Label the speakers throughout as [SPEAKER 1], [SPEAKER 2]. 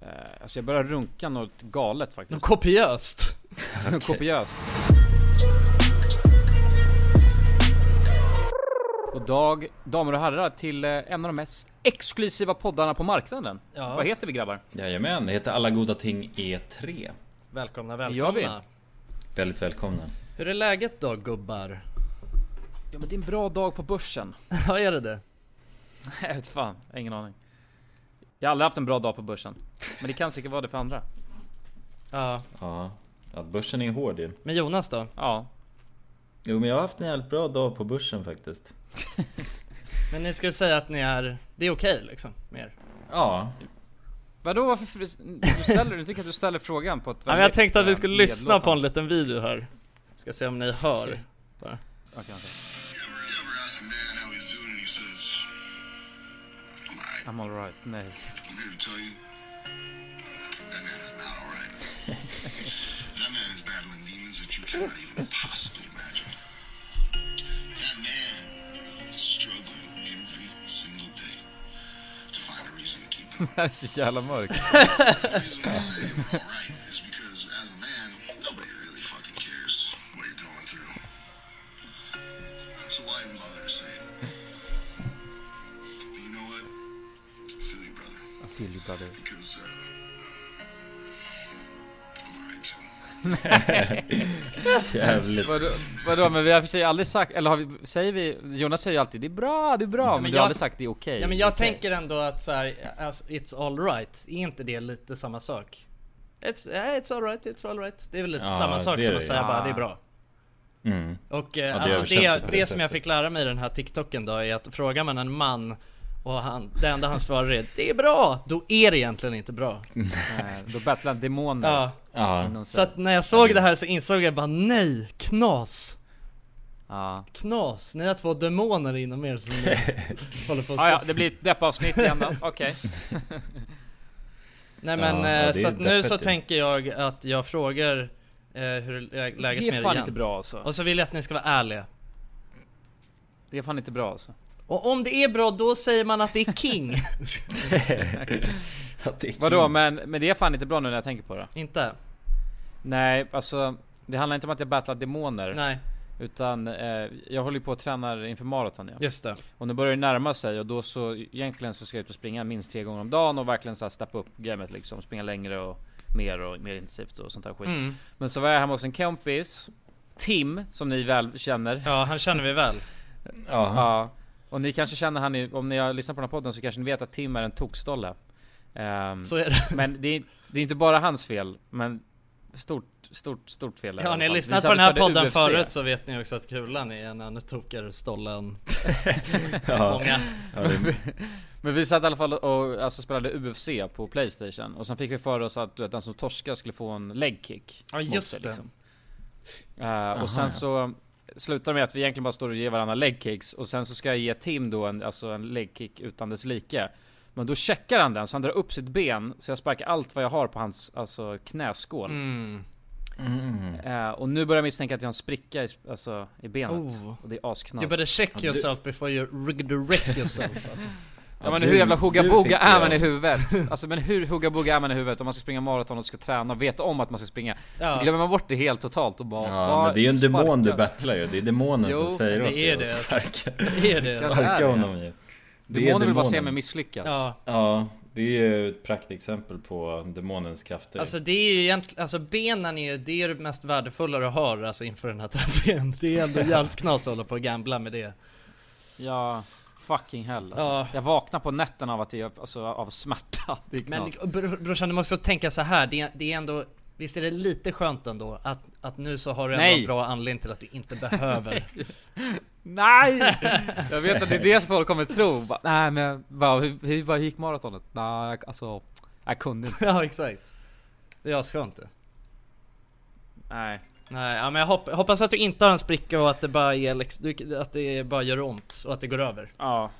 [SPEAKER 1] Eh, alltså jag börjar runka något galet faktiskt.
[SPEAKER 2] Kopiöst!
[SPEAKER 1] Kopiöst. God dag, damer och herrar, till eh, en av de mest exklusiva poddarna på marknaden.
[SPEAKER 2] Ja.
[SPEAKER 1] Vad heter vi grabbar?
[SPEAKER 3] Jajamän, det heter Alla goda ting E E3.
[SPEAKER 2] Välkomna,
[SPEAKER 1] gör vi.
[SPEAKER 2] välkomna!
[SPEAKER 3] Väldigt välkomna.
[SPEAKER 2] Hur är läget då gubbar?
[SPEAKER 1] Ja men det är en bra dag på börsen.
[SPEAKER 2] Ja är det det?
[SPEAKER 1] Jag vet fan, jag har ingen aning. Jag har aldrig haft en bra dag på börsen. Men det kan säkert vara det för andra.
[SPEAKER 2] Ja,
[SPEAKER 3] Ja, ja börsen är hård ju.
[SPEAKER 2] men Jonas då?
[SPEAKER 1] Ja.
[SPEAKER 3] Jo, men jag har haft en jävligt bra dag på börsen faktiskt.
[SPEAKER 2] Men ni skulle säga att ni är, det är okej liksom med er?
[SPEAKER 3] Ja,
[SPEAKER 1] Vadå varför fr- du ställer, du tycker att du ställer frågan på ett eh,
[SPEAKER 2] Ja, men jag tänkte
[SPEAKER 3] eh,
[SPEAKER 2] att vi skulle lyssna på en liten video här Ska se om ni hör
[SPEAKER 1] Okej.
[SPEAKER 2] bara.
[SPEAKER 1] Okej, okej.
[SPEAKER 4] remember asking Dad how he's doing, and he says, "I'm alright.
[SPEAKER 1] I'm alright, nej.
[SPEAKER 4] I'm here to tell you that man is not alright. that man is battling demons that you cannot even possibly imagine. That man is struggling every single day to find a reason to keep him.
[SPEAKER 1] Det här är så jävla mörkt.
[SPEAKER 4] The reason we say we're alright is because as a man, nobody really fucking cares what you're going through. So why even bother to say it? But you know what? I feel you, brother.
[SPEAKER 1] I feel you brother.
[SPEAKER 4] Because, uh, I'm alright too.
[SPEAKER 3] jävligt.
[SPEAKER 1] Vadå, vadå, men vi har för sig aldrig sagt, eller har vi, säger vi, Jonas säger ju alltid det är bra, det är bra, men,
[SPEAKER 2] men
[SPEAKER 1] du
[SPEAKER 2] jag-
[SPEAKER 1] har aldrig sagt det är okej.
[SPEAKER 2] Ja men jag
[SPEAKER 1] okej.
[SPEAKER 2] tänker ändå att så här, alltså, it's alright, är inte det lite samma sak? It's, eh, it's alright, it's alright. Det är väl lite
[SPEAKER 3] Ja,
[SPEAKER 2] samma sak
[SPEAKER 3] det är
[SPEAKER 2] som att
[SPEAKER 3] det.
[SPEAKER 2] säga bara det är
[SPEAKER 1] Ah.
[SPEAKER 2] bra.
[SPEAKER 3] Mm.
[SPEAKER 2] Och eh,
[SPEAKER 3] det
[SPEAKER 2] alltså
[SPEAKER 3] känns ju på
[SPEAKER 2] det,
[SPEAKER 3] det
[SPEAKER 2] det som
[SPEAKER 3] sättet.
[SPEAKER 2] jag fick lära mig i den här TikToken då är att frågar man en man och han, det enda han svarar är det är bra, då är det egentligen inte bra.
[SPEAKER 1] Nej, Eh, Då battlar demoner.
[SPEAKER 2] Ja,
[SPEAKER 3] Ja,
[SPEAKER 1] inom sig.
[SPEAKER 2] så att när jag såg det här så insåg jag bara nej, knas,
[SPEAKER 1] ja.
[SPEAKER 2] knas. Ni har två demoner inom er som håller på att
[SPEAKER 1] Ah, ja,
[SPEAKER 2] slåss.
[SPEAKER 1] det blir ett deppavsnitt igen då. Okej.
[SPEAKER 2] Nej men
[SPEAKER 3] Ja,
[SPEAKER 2] eh,
[SPEAKER 3] ja, det
[SPEAKER 2] så
[SPEAKER 3] är
[SPEAKER 2] att nu så
[SPEAKER 3] deppigt ju.
[SPEAKER 2] tänker jag att jag frågar eh, hur lä- läget
[SPEAKER 1] Det
[SPEAKER 2] med
[SPEAKER 1] är
[SPEAKER 2] er
[SPEAKER 1] fan
[SPEAKER 2] igen.
[SPEAKER 1] inte bra alltså.
[SPEAKER 2] Och så vill jag att ni ska vara ärliga.
[SPEAKER 1] Det är fan inte bra alltså.
[SPEAKER 2] Och om det är bra då säger man att det är king.
[SPEAKER 3] Att det är
[SPEAKER 1] Vadå,
[SPEAKER 3] kul.
[SPEAKER 1] men, men det är fan inte bra nu när jag tänker på det.
[SPEAKER 2] inte?
[SPEAKER 1] Nej, alltså. Det handlar inte om att jag battlar demoner.
[SPEAKER 2] Nej,
[SPEAKER 1] Utan eh, jag håller ju på och tränar inför maraton ja.
[SPEAKER 2] just det.
[SPEAKER 1] Och nu börjar det närma sig och då så egentligen så ska jag ut och springa minst tre gånger om dagen och verkligen så här steppa upp gamet liksom. Springa längre och mer och mer intensivt och sånt där skit.
[SPEAKER 2] Mm.
[SPEAKER 1] Men så var jag hemma hos en kompis. Tim, som ni väl känner.
[SPEAKER 2] Ja, han känner vi väl.
[SPEAKER 3] Ja,
[SPEAKER 1] Ja. Och ni kanske känner han i- om ni har lyssnat på den här podden så kanske ni vet att Tim är en tokstolle. Ehm,
[SPEAKER 2] Så är det.
[SPEAKER 1] Men det är, det är inte bara hans fel, men stort, stort, stort fel. är det i
[SPEAKER 2] Ja,
[SPEAKER 1] alla
[SPEAKER 2] ni har
[SPEAKER 1] fall.
[SPEAKER 2] lyssnat
[SPEAKER 1] Vi
[SPEAKER 2] på den här
[SPEAKER 1] körde
[SPEAKER 2] podden
[SPEAKER 1] UFC.
[SPEAKER 2] förut så vet ni också att Kulan är en ännu tokigare stolle än
[SPEAKER 3] ja.
[SPEAKER 2] många.
[SPEAKER 3] ja det,
[SPEAKER 1] Men vi satt i alla fall och alltså, spelade UFC på Playstation och sen fick vi för oss att du vet, den som torskar skulle få en leg kick.
[SPEAKER 2] Ja,
[SPEAKER 1] mot
[SPEAKER 2] just
[SPEAKER 1] sig, liksom.
[SPEAKER 2] det.
[SPEAKER 1] Eh, och sen så slutar det med att vi egentligen bara står och ger varandra leg kicks och sen så ska jag ge Tim då en, alltså en leg kick utan dess like. Men då checkar han den så han drar upp sitt ben så jag sparkar allt vad jag har på hans alltså, knäskål.
[SPEAKER 2] Mm.
[SPEAKER 3] Mm.
[SPEAKER 1] Eh, och nu börjar jag misstänka att jag har en spricka i, alltså, i benet.
[SPEAKER 2] Oh.
[SPEAKER 1] Och det är asknas.
[SPEAKER 2] You better check yourself before you redirect yourself alltså.
[SPEAKER 1] Ja men
[SPEAKER 3] du-
[SPEAKER 1] hur jävla
[SPEAKER 3] du
[SPEAKER 1] hugga-bugga
[SPEAKER 3] fick
[SPEAKER 1] är
[SPEAKER 3] det,
[SPEAKER 1] man
[SPEAKER 3] ja.
[SPEAKER 1] i huvudet? Alltså men hur hugga-bugga är man i huvudet om man ska springa maraton och ska träna och veta om att man ska springa?
[SPEAKER 2] Ja.
[SPEAKER 1] Så glömmer man bort det helt totalt och bara...
[SPEAKER 3] ja
[SPEAKER 1] bara
[SPEAKER 3] men det är ju en demon du
[SPEAKER 1] sparkar.
[SPEAKER 3] battlar ju. Det är demonen
[SPEAKER 1] Jo,
[SPEAKER 3] som säger
[SPEAKER 2] det
[SPEAKER 3] åt
[SPEAKER 2] är
[SPEAKER 3] dig
[SPEAKER 2] det,
[SPEAKER 3] att
[SPEAKER 2] alltså.
[SPEAKER 3] sparka,
[SPEAKER 2] Det är det.
[SPEAKER 1] Kanske är
[SPEAKER 3] sparka
[SPEAKER 1] det.
[SPEAKER 3] honom ju. Det är
[SPEAKER 1] Demonen vill bara se
[SPEAKER 3] demonen.
[SPEAKER 1] mig misslyckas.
[SPEAKER 2] Ja,
[SPEAKER 3] Ja, det är ju ett praktexempel på demonens krafter.
[SPEAKER 2] alltså det är ju egentligen, alltså benen är ju, det är ju det mest värdefulla du har alltså inför den här tävlingen. Det är ändå jävligt knas att hålla på och gambla med det.
[SPEAKER 1] Ja, fucking hell alltså.
[SPEAKER 2] Ja.
[SPEAKER 1] Jag vaknar på nätten av att det är, alltså, av smärta. Det är
[SPEAKER 2] Men
[SPEAKER 1] knas.
[SPEAKER 2] br- brorsan du måste också tänka så här, det är, det är ändå Visst är det lite skönt ändå att, att nu så har du ändå
[SPEAKER 1] Nej.
[SPEAKER 2] en bra anledning till att du inte behöver
[SPEAKER 1] Nej! Jag vet att det är det som folk kommer tro. Bara, Nej men, bara, hur, hur bara gick maratonet? Nej, jag- alltså... Jag kunde inte.
[SPEAKER 2] Ja exakt Det är asskönt det
[SPEAKER 1] Nej.
[SPEAKER 2] Nej ja, men jag hopp, hoppas att du inte har en spricka och att det bara är lex- du, att det bara gör ont och att det går över
[SPEAKER 1] Ja.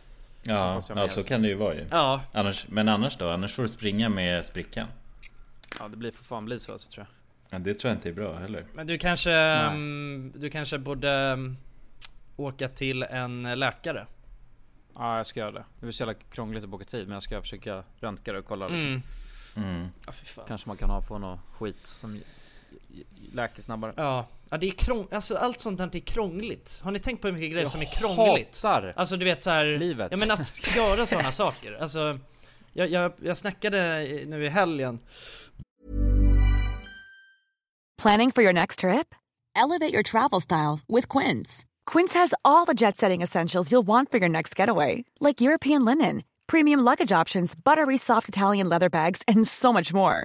[SPEAKER 3] ja,
[SPEAKER 1] hoppas jag
[SPEAKER 3] ja,
[SPEAKER 1] med,
[SPEAKER 3] så
[SPEAKER 1] alltså.
[SPEAKER 3] kan det ju vara ju.
[SPEAKER 2] Ja
[SPEAKER 3] Annars, men annars då? Annars får du springa med sprickan.
[SPEAKER 1] Ja det blir för fan bli så alltså tror jag.
[SPEAKER 3] Ja, det tror jag inte är bra heller.
[SPEAKER 2] men du kanske mm, Du kanske borde mm, Åka till en läkare
[SPEAKER 1] Ja jag ska göra det. Det blir så jävla krångligt att boka tid men jag ska försöka röntga det och kolla liksom.
[SPEAKER 2] mm.
[SPEAKER 5] Mm.
[SPEAKER 6] Ja, fy fan.
[SPEAKER 1] Kanske man kan ha på något skit som j- j- läker snabbare.
[SPEAKER 6] Ja, ja det är krång... alltså, allt sånt där är krångligt. Har ni tänkt på hur mycket grejer som är krångligt?
[SPEAKER 1] Hatar!
[SPEAKER 6] Alltså du vet så här,
[SPEAKER 1] Livet.
[SPEAKER 6] Ja men att göra sådana saker. Alltså, jag, jag, jag snackade i- nu i helgen.
[SPEAKER 7] Planning for your next trip? Elevate your travel style with Quince. Quince has all the jet setting essentials you'll want for your next getaway, like European linen, premium luggage options, buttery soft Italian leather bags, and so much more.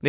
[SPEAKER 2] Det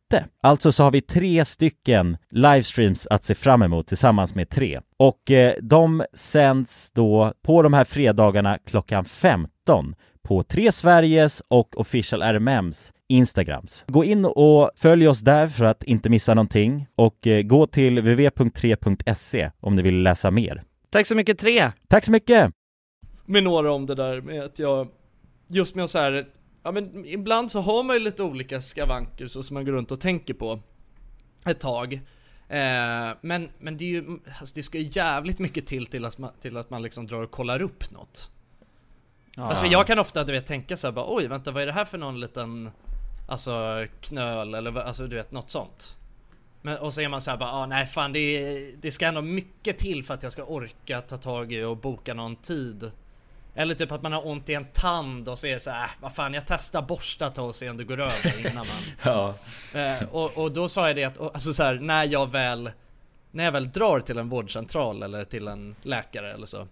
[SPEAKER 3] Alltså så har vi tre stycken livestreams att se fram emot tillsammans med tre. Och eh, de sänds då på de här fredagarna klockan 15 på Tre Sveriges och Official RMMs Instagrams. Gå in och följ oss där för att inte missa någonting och eh, gå till www.3.se e om ni vill läsa mer.
[SPEAKER 2] Tack så mycket tre!
[SPEAKER 3] Tack så mycket!
[SPEAKER 6] med några om det där med att jag Just med att så här Ja men ibland så har man ju lite olika skavanker så som man går runt och tänker på Ett tag eh, men, men det är ju alltså det ska ju jävligt mycket till till att man, till att man liksom drar och kollar upp något Alltså jag kan ofta du vet tänka så här, bara oj vänta vad är det här för någon liten Alltså knöl eller vad- alltså du vet något sånt men, och så är man såhär bara, ah, nej fan det, det ska ändå mycket till för att jag ska orka ta tag i och boka någon tid. Eller typ att man har ont i en tand och så är det såhär, äh, vad fan jag testar borsta ett tag och se om det går över innan man...
[SPEAKER 5] Ja.
[SPEAKER 6] Eh, och, och då sa jag det att, och, alltså såhär, när jag väl
[SPEAKER 2] när jag väl drar till en vårdcentral eller till en läkare eller så.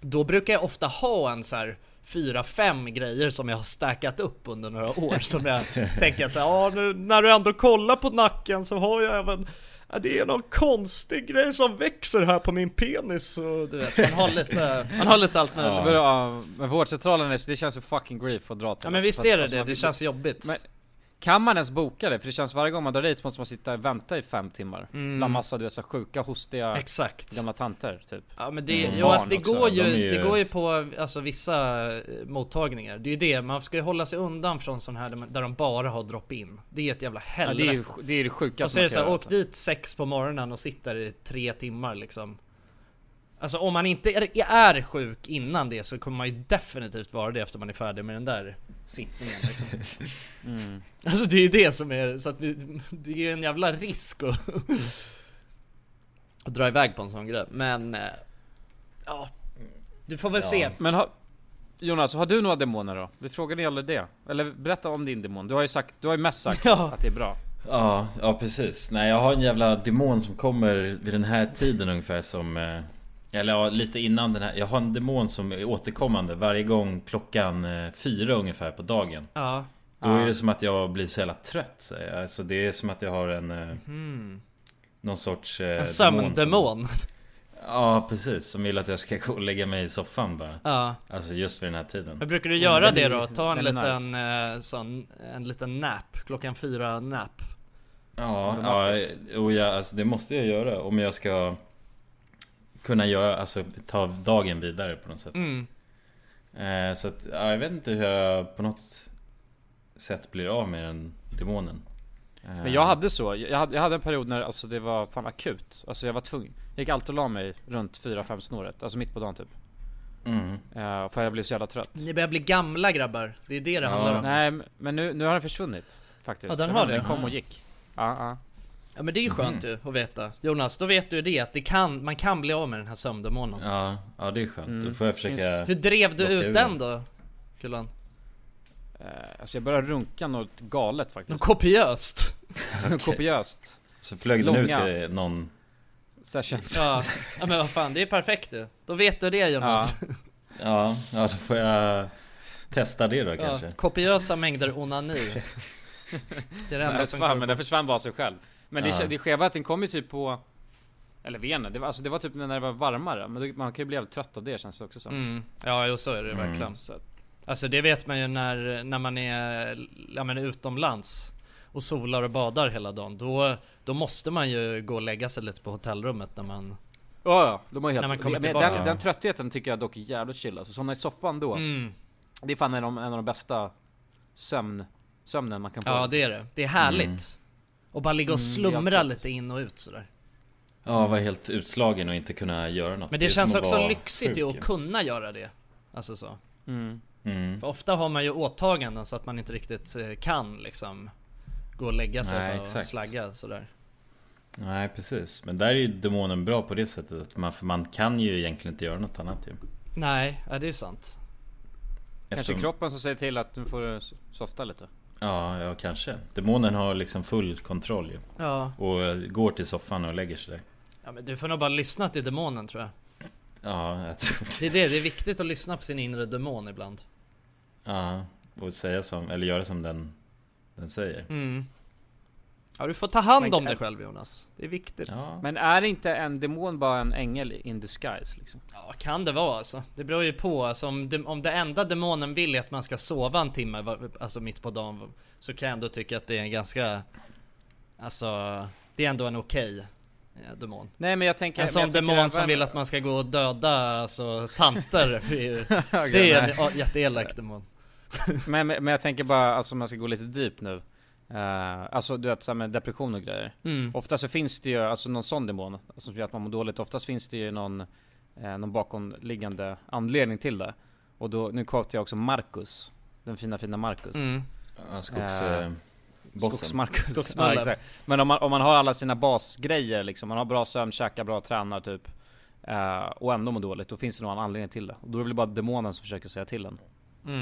[SPEAKER 2] Då brukar jag ofta ha en så här fyra, fem grejer som jag har stackat upp under några år som jag tänker att så här, "Ja, nu, när du ändå kollar på nacken så har jag även ja, det är någon konstig grej som växer här på min penis och du vet, man har lite, man har lite allt möjligt.
[SPEAKER 1] Men, men vårdcentralen, är, det känns ju fucking grief att dra till.
[SPEAKER 2] Ja men
[SPEAKER 1] alltså.
[SPEAKER 2] visst
[SPEAKER 1] För att-
[SPEAKER 2] är det
[SPEAKER 1] alltså,
[SPEAKER 2] det,
[SPEAKER 1] man-
[SPEAKER 2] det känns jobbigt.
[SPEAKER 1] Men- Kan man ens boka det? För det känns varje gång man drar dit så måste man sitta och vänta i fem timmar. Bland massa du vet så här sjuka, hostiga
[SPEAKER 2] Mm. Exakt.
[SPEAKER 1] gamla tanter typ.
[SPEAKER 2] Ja men det,
[SPEAKER 1] Mm.
[SPEAKER 2] ja, alltså, det,
[SPEAKER 1] Barn också,
[SPEAKER 2] går
[SPEAKER 3] de är
[SPEAKER 2] ju,
[SPEAKER 3] ju-
[SPEAKER 2] det går ju på alltså, vissa eh, mottagningar. Det är ju det, man ska ju hålla sig undan från sådana här där man- där de bara har drop-in. Det är ett jävla
[SPEAKER 1] Ja, det, är
[SPEAKER 2] helvete.
[SPEAKER 1] ju, det är det
[SPEAKER 2] och
[SPEAKER 1] sjukaste
[SPEAKER 2] så är det så här, åk
[SPEAKER 1] alltså.
[SPEAKER 2] dit sex på morgonen och sitt där i tre timmar liksom. Alltså om man inte är, är sjuk innan det så kommer man ju definitivt vara det efter man är färdig med den där sittningen liksom.
[SPEAKER 3] Mm.
[SPEAKER 2] Alltså det är ju det som är, så att det, det är ju en jävla risk att, att dra iväg på en sån grej. Men, eh, ja. Du får väl se.
[SPEAKER 1] Men har, Jonas, har du några demoner då? Vi frågade ju aldrig det. Eller berätta om din demon. Du har ju sagt, du har ju mest sagt
[SPEAKER 2] Ja.
[SPEAKER 1] att det är bra.
[SPEAKER 3] Ja, ja precis. Nej, jag har en jävla demon som kommer vid den här tiden ungefär som... eh, Eller ja, lite innan den här. Jag har en demon som är återkommande varje gång klockan eh, fyra ungefär på dagen.
[SPEAKER 2] Ja.
[SPEAKER 3] Då är det som att jag blir så jävla trött. så jag- Alltså det är som att jag har en... eh,
[SPEAKER 1] Mhm.
[SPEAKER 3] Någon sorts... eh,
[SPEAKER 2] En
[SPEAKER 3] demon Som,
[SPEAKER 2] sömndemon.
[SPEAKER 3] ja, precis. Som vill att jag ska gå och lägga mig i soffan bara.
[SPEAKER 2] Ja.
[SPEAKER 3] Alltså just vid den här tiden.
[SPEAKER 2] Men brukar du göra det då? Ta en
[SPEAKER 1] den är
[SPEAKER 2] liten eh, sån, en liten nap, klockan fyra nap.
[SPEAKER 3] Ja, ja och jag, alltså, det måste jag göra om jag ska kunna göra, alltså ta dagen vidare på något sätt. Eh, så att, ja, jag vet inte hur jag på något sätt blir av med den demonen. Eh,
[SPEAKER 1] Men jag hade så. Jag hade, jag hade en period när alltså, det var fan akut. Alltså jag var tvungen. Jag gick alltid och la mig runt 4-5 snåret. Alltså mitt på dagen typ.
[SPEAKER 3] mm.
[SPEAKER 1] Eh, för jag blev så jävla trött.
[SPEAKER 2] Ni börjar bli gamla grabbar. Det är det det handlar om.
[SPEAKER 1] Nej, m- men nu, nu har den försvunnit. Faktiskt.
[SPEAKER 2] Ja, den
[SPEAKER 1] Jag
[SPEAKER 2] har
[SPEAKER 1] vet inte,
[SPEAKER 2] det.
[SPEAKER 1] Den kom och gick. Ja, ja.
[SPEAKER 2] Ja men det är ju skönt ju att veta. Jonas, då vet du det att det kan, man kan bli av med den här sömndemonen.
[SPEAKER 3] ja, ja, det är skönt. Då får jag försöka...
[SPEAKER 2] Hur drev du
[SPEAKER 3] Locka
[SPEAKER 2] ut
[SPEAKER 3] ur
[SPEAKER 2] den då? Kulan?
[SPEAKER 1] Eh, Alltså jag började runka något galet
[SPEAKER 2] Något
[SPEAKER 1] faktiskt.
[SPEAKER 2] kopiöst?
[SPEAKER 1] Kopiöst.
[SPEAKER 3] Så flög den ut
[SPEAKER 1] Långa.
[SPEAKER 3] till någon...
[SPEAKER 1] Sessions.
[SPEAKER 2] Ja. ja men vad fan, det är perfekt ju. Då vet du det
[SPEAKER 1] Ja.
[SPEAKER 2] Jonas.
[SPEAKER 3] Ja, ja, då får jag testa det då
[SPEAKER 2] Ja,
[SPEAKER 3] kanske.
[SPEAKER 2] kopiösa mängder onani. Det är det
[SPEAKER 1] Den
[SPEAKER 2] enda som
[SPEAKER 1] försvann, men
[SPEAKER 2] kommer.
[SPEAKER 1] den försvann bara av sig själv. Men det,
[SPEAKER 3] Ja.
[SPEAKER 1] det skeva är att den kom ju typ på... Eller venen, det var, alltså det var typ när det var varmare. Men då, man kan ju bli jävligt trött av det känns det också som.
[SPEAKER 2] Mm. Ja, jo så är det verkligen.
[SPEAKER 1] Så att,
[SPEAKER 2] Alltså det vet man ju när, när man är ja, men utomlands och solar och badar hela dagen. Då, då måste man ju gå och lägga sig lite på hotellrummet när man...
[SPEAKER 1] ja, ja, de har ju helt...
[SPEAKER 2] När man kommer
[SPEAKER 1] men
[SPEAKER 2] tillbaka.
[SPEAKER 1] den, den tröttheten tycker jag dock är jävligt chill. Alltså somna i soffan då.
[SPEAKER 2] Mm.
[SPEAKER 1] Det är fan en av, de- en av de bästa sömn, sömnen man kan få.
[SPEAKER 2] Ja det är det. Det är härligt.
[SPEAKER 3] Mm.
[SPEAKER 2] Och bara ligga och slumra
[SPEAKER 1] alltid.
[SPEAKER 2] lite in och ut sådär.
[SPEAKER 3] Ja, vara helt utslagen och inte kunna göra något.
[SPEAKER 2] Men det,
[SPEAKER 3] är som
[SPEAKER 2] känns
[SPEAKER 3] att
[SPEAKER 2] också
[SPEAKER 3] vara
[SPEAKER 2] lyxigt ju
[SPEAKER 3] sjuk.
[SPEAKER 2] att kunna göra det. Alltså så.
[SPEAKER 3] Mm.
[SPEAKER 2] För ofta har man ju åtaganden så att man inte riktigt eh, kan liksom gå och lägga sig
[SPEAKER 3] Nej,
[SPEAKER 2] bara och
[SPEAKER 3] exakt.
[SPEAKER 2] slagga sådär.
[SPEAKER 3] Nej precis, men där är ju demonen bra på det sättet att man, för man kan ju egentligen inte göra något annat ju
[SPEAKER 2] Nej, ja, det är sant.
[SPEAKER 1] Kanske
[SPEAKER 3] Eftersom-
[SPEAKER 1] kroppen som säger till att nu får du so- softa lite.
[SPEAKER 3] Ja, ja kanske Demonen har liksom full kontroll ju
[SPEAKER 2] Ja.
[SPEAKER 3] Och eh, går till soffan och lägger sig där
[SPEAKER 2] ja men du får nog bara lyssna till demonen tror jag.
[SPEAKER 3] Ja, jag tror det
[SPEAKER 2] Det är det, det är viktigt att lyssna på sin inre demon ibland.
[SPEAKER 3] Ja, och säga som, eller göra som den, den säger
[SPEAKER 2] Mm. Ja, du får ta hand
[SPEAKER 1] Men-
[SPEAKER 2] om dig själv Jonas. Det är viktigt. Ja,
[SPEAKER 3] Ja,
[SPEAKER 1] Men är inte en demon bara en ängel in disguise liksom?
[SPEAKER 2] kan det vara alltså. Det beror ju på. Alltså, om, de, om det enda demonen vill är att man ska sova en timme, var- alltså mitt på dagen, så kan jag ändå tycka att det är en ganska... Alltså, det är ändå en okej eh, demon.
[SPEAKER 1] Nej men jag tänker...
[SPEAKER 2] En
[SPEAKER 1] men
[SPEAKER 2] sån
[SPEAKER 1] jag tänker
[SPEAKER 2] demon som
[SPEAKER 1] även-
[SPEAKER 2] vill att man ska gå och döda alltså, tanter. Det är ju- det är en ja, jätteelak demon.
[SPEAKER 1] Men, men men jag tänker bara, alltså om man ska gå lite deep nu. Eh, alltså du vet såhär med depression och grejer. Ofta så finns det ju alltså någon sån demon som gör att man mår dåligt. Oftast finns det ju någon, eh, någon bakomliggande anledning till det. Och då, nu quotar jag också Marcus. Den fina fina Marcus.
[SPEAKER 2] Mm.
[SPEAKER 3] ja skogs...
[SPEAKER 1] Eh,
[SPEAKER 3] Eh, bossen
[SPEAKER 1] Skogsmarcus.
[SPEAKER 2] Skogsmallen.
[SPEAKER 1] Ja, exakt. Men om man, om man har alla sina basgrejer liksom, man har bra sömn, käkar bra, tränar typ. eh, och ändå mår dåligt, då finns det nog en anledning till det. Och då är det väl bara demonen som försöker säga till en.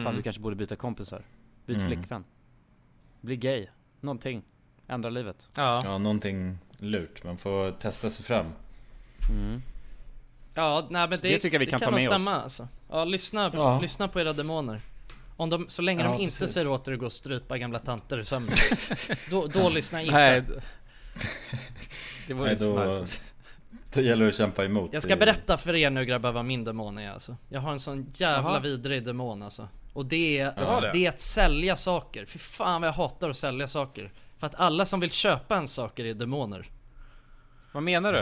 [SPEAKER 1] Fan du kanske borde byta kompisar.
[SPEAKER 3] Mm.
[SPEAKER 1] Byt flickvän. Bli gay. Någonting. Ändra livet.
[SPEAKER 2] Ja.
[SPEAKER 3] Ja, någonting lurt. Man får testa sig fram.
[SPEAKER 2] Ja, nej, men det,
[SPEAKER 1] det tycker jag vi kan ta
[SPEAKER 2] nog
[SPEAKER 1] med oss.
[SPEAKER 2] stämma alltså. Ja, lyssna,
[SPEAKER 3] Ja.
[SPEAKER 2] lyssna på era demoner. Om de, så länge
[SPEAKER 3] Ja,
[SPEAKER 2] de inte
[SPEAKER 3] precis.
[SPEAKER 2] säger åt er att gå och strypa gamla tanter i sömnen. då, då lyssna inte.
[SPEAKER 1] Nej. d- Det var
[SPEAKER 3] Nej,
[SPEAKER 1] inte
[SPEAKER 3] då-
[SPEAKER 1] så nice.
[SPEAKER 3] Det gäller att kämpa emot.
[SPEAKER 2] Jag ska
[SPEAKER 3] i-
[SPEAKER 2] berätta för er nu grabbar vad min demon är alltså. Jag har en sån jävla
[SPEAKER 1] Jaha.
[SPEAKER 2] vidrig demon alltså. Och det är,
[SPEAKER 1] var det.
[SPEAKER 2] det är att sälja saker. Fy fan vad jag hatar att sälja saker. För att alla som vill köpa en saker är demoner.
[SPEAKER 1] Vad menar du?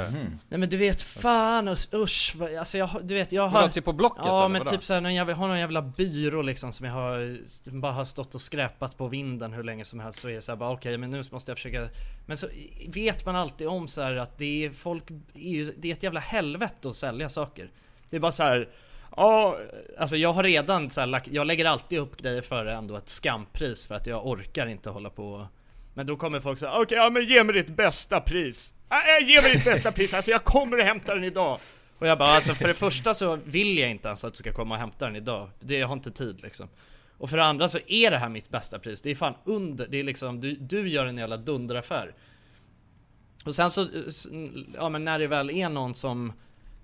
[SPEAKER 2] Nej men du vet fan usch, usch vad- alltså jag, har- du vet jag
[SPEAKER 1] Vadå,
[SPEAKER 2] har...
[SPEAKER 1] typ på Blocket
[SPEAKER 2] Ja
[SPEAKER 1] eller
[SPEAKER 2] men
[SPEAKER 1] vadå?
[SPEAKER 2] typ såhär, någon jävla, har någon jävla byrå liksom som jag har, som bara har stått och skräpat på vinden hur länge som helst så är det såhär bara okej men nu måste jag försöka Men så vet man alltid om så här att det är folk, är ju- det är ett jävla helvete att sälja saker Det är bara så här. Ja, alltså jag har redan så här, lagt, jag lägger alltid upp grejer före ändå ett skampris för att jag orkar inte hålla på och- Men då kommer folk säga okej ja men ge mig ditt bästa pris Nej, ge mig ditt bästa pris, alltså jag kommer och hämtar den idag och jag bara alltså för det första så vill jag inte ens att du ska komma och hämta den idag. Det, jag har inte tid liksom. Och för det andra så är det här mitt bästa pris. Det är fan under, det är liksom du, du gör en jävla dunderaffär. Och sen så, s- ja men när det väl är någon som,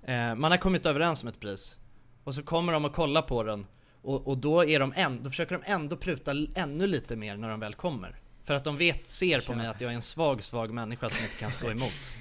[SPEAKER 2] eh, man har kommit överens om ett pris. Och så kommer de och kollar på den. Och, och då är de än, då försöker de ändå pruta l- ännu lite mer när de väl kommer. För att de vet, ser på mig att jag är en svag, svag människa som inte kan stå emot.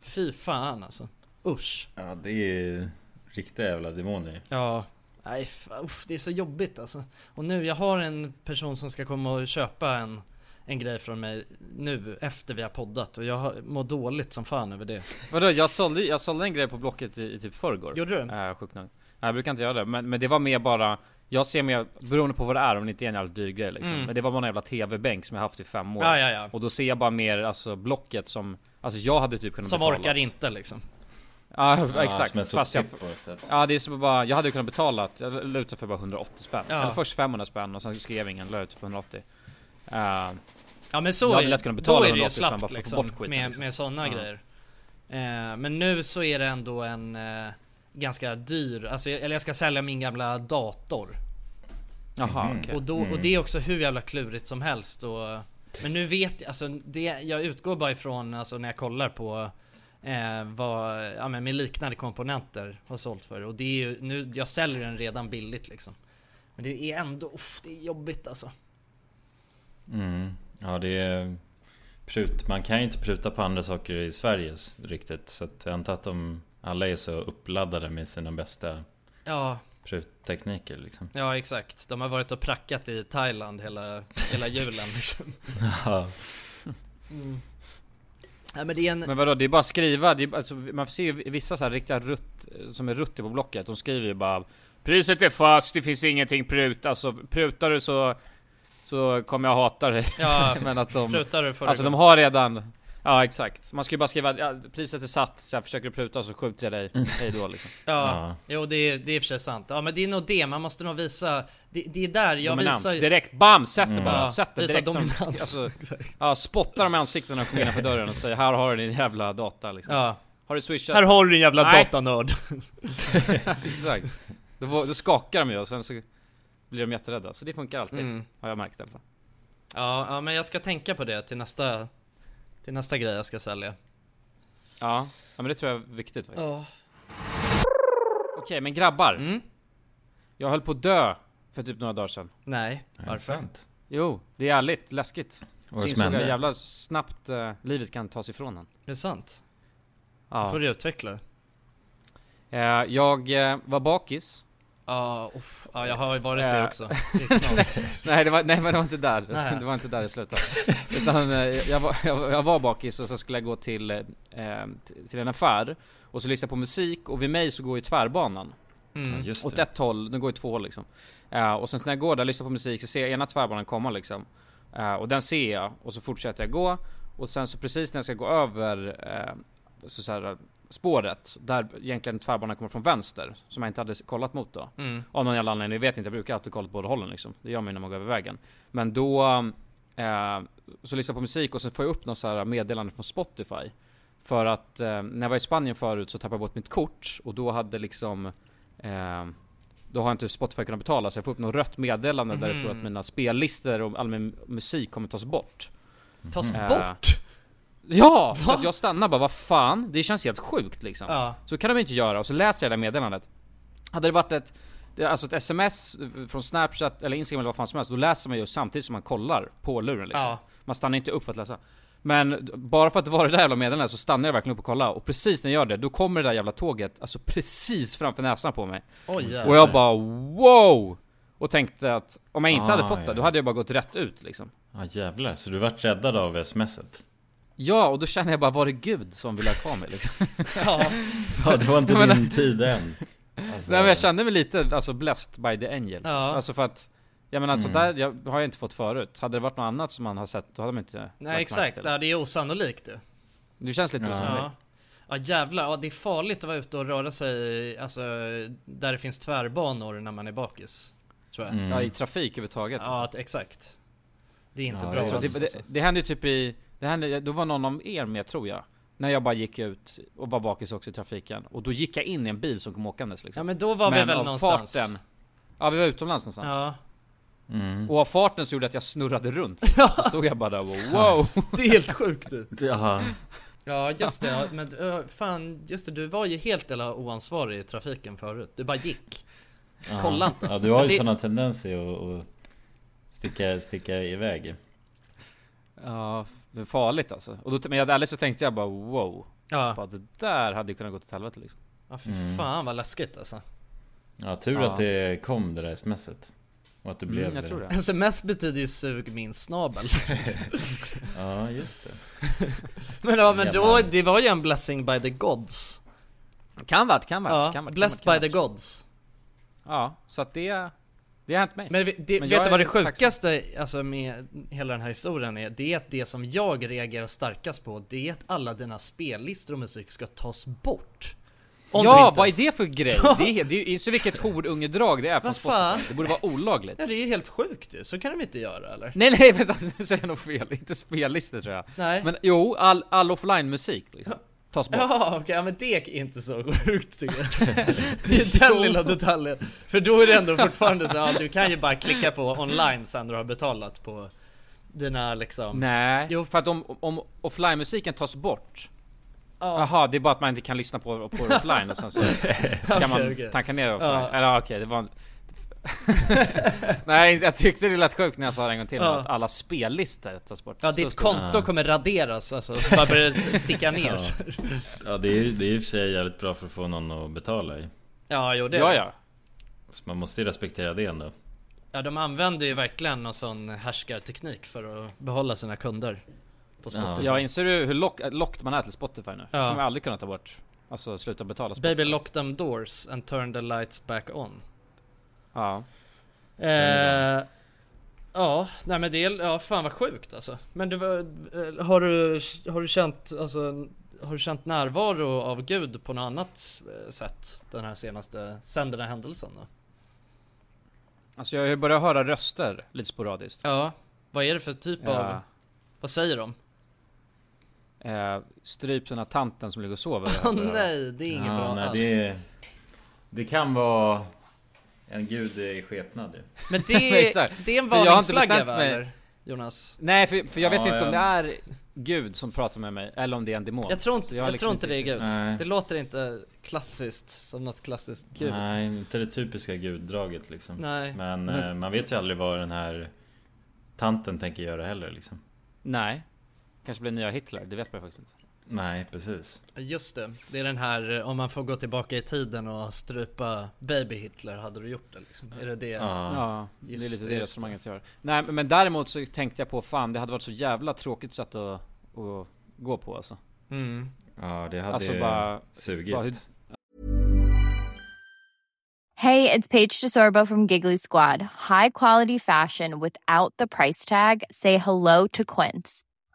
[SPEAKER 2] Fy fan alltså. Usch.
[SPEAKER 3] Ja, det är riktiga jävla demoner.
[SPEAKER 2] Ja. Nej, f- uff, det är så jobbigt alltså. Och nu, jag har en person som ska komma och köpa en, en grej från mig nu efter vi har poddat och jag har, mår dåligt som fan över det.
[SPEAKER 1] Vadå, jag sålde, jag sålde en grej på Blocket i, i typ förrgår.
[SPEAKER 2] Gjorde du?
[SPEAKER 1] Äh, sjukt nog. Nej, jag brukar inte göra det, men, men det var mer bara jag ser mer, beroende på vad det är, om det inte är en jävla dyr grej liksom. Men det var bara en jävla TV-bänk som jag haft i fem år.
[SPEAKER 2] Mm. Ja, ja, ja.
[SPEAKER 1] Och då ser jag bara mer alltså blocket som, alltså jag hade typ kunnat
[SPEAKER 2] Som
[SPEAKER 1] betala.
[SPEAKER 2] orkar inte liksom.
[SPEAKER 1] Ja
[SPEAKER 3] Ja,
[SPEAKER 1] exakt,
[SPEAKER 3] Som en
[SPEAKER 1] fast jag,
[SPEAKER 3] soptipp på ett sätt.
[SPEAKER 1] Ja det är som bara, jag hade kunnat betala, jag la ut det för bara 180 spänn.
[SPEAKER 2] Ja.
[SPEAKER 1] Eller först 500 spänn och sen skrev ingen, la ut för 180. Eh,
[SPEAKER 2] Ja men
[SPEAKER 1] Jag
[SPEAKER 2] så
[SPEAKER 1] hade
[SPEAKER 2] är,
[SPEAKER 1] lätt kunnat betala
[SPEAKER 2] då är det ju
[SPEAKER 1] 180 spänn bara för
[SPEAKER 2] slappt
[SPEAKER 1] att få
[SPEAKER 2] liksom,
[SPEAKER 1] bort skiten,
[SPEAKER 2] med,
[SPEAKER 1] liksom.
[SPEAKER 2] med sådana
[SPEAKER 1] Ja.
[SPEAKER 2] grejer. Eh, men nu så är det ändå en eh, ganska dyr, alltså, jag- eller jag ska sälja min gamla dator.
[SPEAKER 1] Jaha
[SPEAKER 3] Mm.
[SPEAKER 1] okej.
[SPEAKER 2] Och, då, och det är också hur jävla klurigt som helst. Och, men nu vet jag, alltså det, jag utgår bara ifrån alltså när jag kollar på eh, vad, ja men med liknande komponenter har sålt för. Och det är ju, nu, jag säljer den redan billigt liksom. Men det är ändå, uff, det är jobbigt alltså.
[SPEAKER 3] Mm. Ja, det är prut. Man kan ju inte pruta på andra saker i Sverige s- riktigt. Så att jag antar att de alla är så uppladdade med sina bästa
[SPEAKER 2] Ja,
[SPEAKER 3] pruttekniker liksom.
[SPEAKER 2] ja exakt. De har varit och prackat i Thailand hela, hela julen liksom.
[SPEAKER 3] Ja.
[SPEAKER 2] Nej men det är en,
[SPEAKER 1] Men vadå, det är bara att skriva, det är, alltså, man ser ju vissa så här riktiga rutt, som är ruttiga på blocket, de skriver ju bara Priset är fast, det finns ingenting prut, alltså prutar du så, så kommer jag hata dig.
[SPEAKER 2] ja,
[SPEAKER 1] Men att de,
[SPEAKER 2] prutar du förra
[SPEAKER 1] alltså de
[SPEAKER 2] gången?
[SPEAKER 1] har redan Ja exakt, man ska ju bara skriva ja, priset är satt, så här, försöker du pruta så skjuter jag dig, hejdå liksom.
[SPEAKER 2] Ja,
[SPEAKER 3] Ja.
[SPEAKER 2] jo det är, det är i och för sig sant. Ja men det är nog det, man måste nog visa. Det, det är där jag
[SPEAKER 1] Dominans,
[SPEAKER 2] visar.
[SPEAKER 1] direkt, bam! Sätt det
[SPEAKER 3] Mm.
[SPEAKER 1] bara,
[SPEAKER 2] Ja,
[SPEAKER 1] sätt det
[SPEAKER 2] visa
[SPEAKER 1] direkt.
[SPEAKER 2] dominans.
[SPEAKER 1] Alltså, ja, spottar dem i ansiktet när de kommer innanför dörren och säger här har du din jävla data liksom.
[SPEAKER 2] Ja.
[SPEAKER 1] Har du swishat?
[SPEAKER 2] Här har du din jävla
[SPEAKER 1] Nej.
[SPEAKER 2] datanörd.
[SPEAKER 1] Exakt. Då, var- då skakar de ju och sen så blir de jätterädda. Så det funkar alltid.
[SPEAKER 2] Mm.
[SPEAKER 1] Har jag märkt i alla fall.
[SPEAKER 2] Ja, ja, men jag ska tänka på det till nästa, till nästa grej jag ska sälja.
[SPEAKER 1] Ja. ja, men det tror jag är viktigt faktiskt. Okej, men grabbar.
[SPEAKER 2] Mm.
[SPEAKER 1] Jag höll på att dö för typ några dagar sedan.
[SPEAKER 2] Nej, varför?
[SPEAKER 3] sant.
[SPEAKER 1] Jo, det är ärligt läskigt.
[SPEAKER 3] Vad
[SPEAKER 1] så
[SPEAKER 3] som
[SPEAKER 1] insåg jag
[SPEAKER 3] hände?
[SPEAKER 1] jävla snabbt eh, livet kan tas ifrån en.
[SPEAKER 2] Det är sant.
[SPEAKER 1] Ja.
[SPEAKER 2] Får du utveckla.
[SPEAKER 1] Eh, jag eh, var bakis.
[SPEAKER 2] Ja, uff. ja, jag har ju varit det
[SPEAKER 1] Äh.
[SPEAKER 2] också. Det är knas.
[SPEAKER 1] Nej, det var, nej men det var inte där.
[SPEAKER 2] Nej.
[SPEAKER 1] Det var inte där det slutade. Utan eh, jag var, jag, var- jag var bakis och sen skulle jag gå till, eh, t- till en affär. Och så lyssnade jag på musik och vid mig så går ju tvärbanan.
[SPEAKER 3] Ja,
[SPEAKER 2] Mm.
[SPEAKER 3] just
[SPEAKER 1] Åt
[SPEAKER 3] det.
[SPEAKER 1] ett håll, den går i två håll liksom. Eh, och sen så när jag går där och lyssnar på musik så ser jag ena tvärbanan komma liksom. Eh, och den ser jag och så fortsätter jag gå. Och sen så precis när jag ska gå över eh, så så här, spåret, där egentligen tvärbanan kommer från vänster, som jag inte hade kollat mot då.
[SPEAKER 2] Mm.
[SPEAKER 1] Av någon jävla anledning, jag vet inte, jag brukar alltid kolla åt båda hållen liksom. Det gör man ju när man går över vägen. Men då, eh, så lyssnar jag på musik och så får jag upp någon så här meddelande från Spotify. För att eh, när jag var i Spanien förut så tappade jag bort mitt kort och då hade liksom eh, Då har inte Spotify kunnat betala så jag får upp något rött meddelande där det står att mina spellistor och all min musik kommer tas bort.
[SPEAKER 2] Tas
[SPEAKER 1] Mm.
[SPEAKER 2] bort?
[SPEAKER 1] Ja! Så att jag stannar bara, vad fan, det känns helt sjukt liksom.
[SPEAKER 2] Ja.
[SPEAKER 1] Så kan de inte göra, och så läser jag det här meddelandet. Hade det varit ett, det- alltså ett sms från Snapchat eller Instagram eller vad fan som helst, då läser man ju samtidigt som man kollar på luren liksom.
[SPEAKER 2] Ja.
[SPEAKER 1] Man stannar inte upp för att läsa. Men d- bara för att det var det där jävla meddelandet så stannar jag verkligen upp och kollar, och precis när jag gör det, då kommer det där jävla tåget, alltså precis framför näsan på mig.
[SPEAKER 2] Oj, jävlar.
[SPEAKER 1] Och jag bara wow! Och tänkte att om jag inte hade
[SPEAKER 3] Ah,
[SPEAKER 1] fått det,
[SPEAKER 3] ja.
[SPEAKER 1] då hade jag bara gått rätt ut liksom.
[SPEAKER 3] Ja jävlar, så du vart räddad av smset?
[SPEAKER 1] Ja, och då känner jag bara, var det Gud som ville ha kvar mig liksom?
[SPEAKER 2] Ja.
[SPEAKER 3] Ja det var inte
[SPEAKER 1] Jag menar-
[SPEAKER 3] din tid än alltså,
[SPEAKER 1] Nej men jag kände mig lite, alltså blessed by the angels.
[SPEAKER 2] Ja.
[SPEAKER 1] Alltså för att, jag menar sånt där jag, har jag inte fått förut. Hade det varit något annat som man har sett, då hade man inte lagt
[SPEAKER 2] Nej
[SPEAKER 1] märke
[SPEAKER 2] exakt,
[SPEAKER 1] till det.
[SPEAKER 2] ja, det är osannolikt det.
[SPEAKER 1] Det känns lite
[SPEAKER 2] Ja.
[SPEAKER 1] osannolikt.
[SPEAKER 2] Ja jävlar, ja, det är farligt att vara ute och röra sig alltså, där det finns tvärbanor när man är bakis. Tror jag.
[SPEAKER 1] Ja, i trafik överhuvudtaget.
[SPEAKER 2] Ja,
[SPEAKER 1] alltså.
[SPEAKER 2] att, exakt. Det är inte
[SPEAKER 3] Ja,
[SPEAKER 2] bra.
[SPEAKER 1] Jag tror att
[SPEAKER 2] alls,
[SPEAKER 1] det,
[SPEAKER 2] alltså.
[SPEAKER 1] det, det hände ju typ i, det hände, då var någon av er med tror jag. När jag bara gick ut och var bakis också i trafiken. Och då gick jag in i en bil som kom åkandes liksom.
[SPEAKER 2] Ja men då var vi väl
[SPEAKER 1] av
[SPEAKER 2] någonstans.
[SPEAKER 1] farten- Ja vi var utomlands någonstans.
[SPEAKER 2] Ja,
[SPEAKER 1] Och av farten så gjorde det att jag snurrade runt. Då stod jag bara där och bara, wow.
[SPEAKER 2] det är helt sjukt du.
[SPEAKER 3] Jaha.
[SPEAKER 2] Ja just det, ja, men ö, fan just det, du var ju helt eller oansvarig i trafiken förut. Du bara gick. Kolla inte.
[SPEAKER 3] Ja du har ju
[SPEAKER 1] Det-
[SPEAKER 3] sådana tendenser att, att sticka, sticka iväg
[SPEAKER 1] Ja, det är farligt alltså. Och då, men jag, ärligt så tänkte jag bara wow.
[SPEAKER 2] Ja,
[SPEAKER 1] Bara, det där hade ju kunnat gå åt helvete liksom.
[SPEAKER 2] ja fy fan vad läskigt alltså.
[SPEAKER 3] Ja tur
[SPEAKER 1] Ja.
[SPEAKER 3] att det kom det där smset Och att du blev
[SPEAKER 1] Mm, jag tror det.
[SPEAKER 2] Sms betyder ju sug min snabel.
[SPEAKER 3] Ja just det
[SPEAKER 2] Men ja men då, det var ju en blessing by the gods.
[SPEAKER 1] Kan varit, kan varit,
[SPEAKER 2] Ja,
[SPEAKER 1] kan varit.
[SPEAKER 2] blessed
[SPEAKER 1] kan
[SPEAKER 2] by
[SPEAKER 1] varit,
[SPEAKER 2] the
[SPEAKER 1] kan
[SPEAKER 2] gods.
[SPEAKER 1] varit. Ja, så att det, det har hänt mig.
[SPEAKER 2] Men, vi- det,
[SPEAKER 1] Men jag
[SPEAKER 2] vet du vad
[SPEAKER 1] är
[SPEAKER 2] det sjukaste alltså, med hela den här historien är? Det är att det som jag reagerar starkast på, det är att alla dina spellistor och musik ska tas bort. Om du
[SPEAKER 1] ja,
[SPEAKER 2] inte-
[SPEAKER 1] vad är det för grej? Det är, det är, inser vilket horungedrag det är från
[SPEAKER 2] Vad fan?
[SPEAKER 1] Spotify. Det borde vara olagligt.
[SPEAKER 2] Ja, det är ju helt sjukt ju. Så kan de inte göra eller?
[SPEAKER 1] Nej nej vänta, nu säger jag nog fel. Inte spellistor tror jag.
[SPEAKER 2] Nej.
[SPEAKER 1] Men jo, all, all offline musik liksom. Tas bort.
[SPEAKER 2] Ja, okej, ja, men det är inte så sjukt tycker jag. Det är den lilla detaljen. För då är det ändå fortfarande så, ja du kan ju bara klicka på online sen när du har betalat på dina liksom...
[SPEAKER 1] Nej,
[SPEAKER 2] Jo.
[SPEAKER 1] för att om, om offline musiken tas bort
[SPEAKER 2] Ja.
[SPEAKER 1] Jaha, det är bara att man inte kan lyssna på, på det offline och sen så kan man
[SPEAKER 2] Okej, okej.
[SPEAKER 1] tanka ner det offline.
[SPEAKER 2] Ja.
[SPEAKER 1] Eller ja, okej, det var en... Nej, jag tyckte det lät sjukt när jag sa det en gång till.
[SPEAKER 2] Ja.
[SPEAKER 1] Att alla spellistor tas bort.
[SPEAKER 2] Ja
[SPEAKER 1] Så
[SPEAKER 2] ditt
[SPEAKER 1] står
[SPEAKER 2] konto kommer raderas alltså, så bara börjar det ticka ner.
[SPEAKER 3] Ja.
[SPEAKER 2] Ja,
[SPEAKER 3] Ja det är ju det är i och för sig jävligt bra för att få någon att betala i
[SPEAKER 2] ja jo
[SPEAKER 1] det.
[SPEAKER 2] det
[SPEAKER 1] Ja, ja.
[SPEAKER 3] Så man måste ju respektera det ändå
[SPEAKER 2] ja de använder ju verkligen någon sån härskarteknik för att behålla sina kunder. På Spotify.
[SPEAKER 1] Jag inser du hur lock, locked man är till Spotify nu?
[SPEAKER 2] Ja.
[SPEAKER 1] Ja. kommer aldrig kunna ta bort. Alltså sluta betala Spotify.
[SPEAKER 2] Baby lock them doors and turn the lights back on.
[SPEAKER 1] Ja.
[SPEAKER 2] Eh, ja, nej men det är, ja fan vad sjukt alltså. Men det var, eh, har du, har du känt, alltså, har du känt närvaro av Gud på något annat eh, sätt? Den här senaste, sen den här händelsen då?
[SPEAKER 1] Alltså jag har ju börjat höra röster lite sporadiskt.
[SPEAKER 2] Ja, vad är det för typ av,
[SPEAKER 1] Ja.
[SPEAKER 2] vad säger de?
[SPEAKER 1] Eh, stryp den här tanten som ligger och sover.
[SPEAKER 2] Åh nej, det är inget bra
[SPEAKER 3] nej,
[SPEAKER 2] alls.
[SPEAKER 3] det, det kan vara en gud i skepnad ju.
[SPEAKER 2] Men
[SPEAKER 1] Men
[SPEAKER 2] det är,
[SPEAKER 1] exakt.
[SPEAKER 2] det är en
[SPEAKER 1] För jag har inte
[SPEAKER 2] varningsflagga
[SPEAKER 1] bestämt
[SPEAKER 2] va?
[SPEAKER 1] mig.
[SPEAKER 2] eller, Jonas?
[SPEAKER 1] Nej, för, för jag
[SPEAKER 3] Ja,
[SPEAKER 1] vet inte om det
[SPEAKER 3] jag-
[SPEAKER 1] är Gud som pratar med mig, eller om det är en demon.
[SPEAKER 2] Jag tror
[SPEAKER 1] Så
[SPEAKER 2] inte,
[SPEAKER 1] har
[SPEAKER 2] jag
[SPEAKER 1] liksom
[SPEAKER 2] tror inte det är
[SPEAKER 1] riktigt-
[SPEAKER 2] Gud.
[SPEAKER 3] Nej.
[SPEAKER 2] Det låter inte klassiskt, som något klassiskt Gud.
[SPEAKER 3] Nej, inte det typiska guddraget liksom.
[SPEAKER 2] Nej.
[SPEAKER 3] Men, eh, man vet ju aldrig vad den här tanten tänker göra heller liksom.
[SPEAKER 1] Nej. Kanske blir nya Hitler, det vet man faktiskt inte.
[SPEAKER 3] Nej, precis.
[SPEAKER 2] Just det, det är den här eh, om man får gå tillbaka i tiden och strupa baby Hitler, hade du gjort det liksom? Är det det?
[SPEAKER 3] Ja.
[SPEAKER 1] Ja, det är
[SPEAKER 2] just
[SPEAKER 1] lite
[SPEAKER 2] det,
[SPEAKER 1] det
[SPEAKER 2] just
[SPEAKER 1] resonemanget jag gör. Nej, men- men däremot så tänkte jag på fan, det hade varit så jävla tråkigt sätt att, att gå på alltså.
[SPEAKER 2] Mm.
[SPEAKER 3] ja, det hade
[SPEAKER 1] Alltså
[SPEAKER 3] ju
[SPEAKER 1] bara-
[SPEAKER 3] sugit.
[SPEAKER 1] Bara hur-
[SPEAKER 8] Hey, it's Paige DeSorbo from Giggly Squad. High quality fashion without the price tag. Say hello to Quince.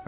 [SPEAKER 9] All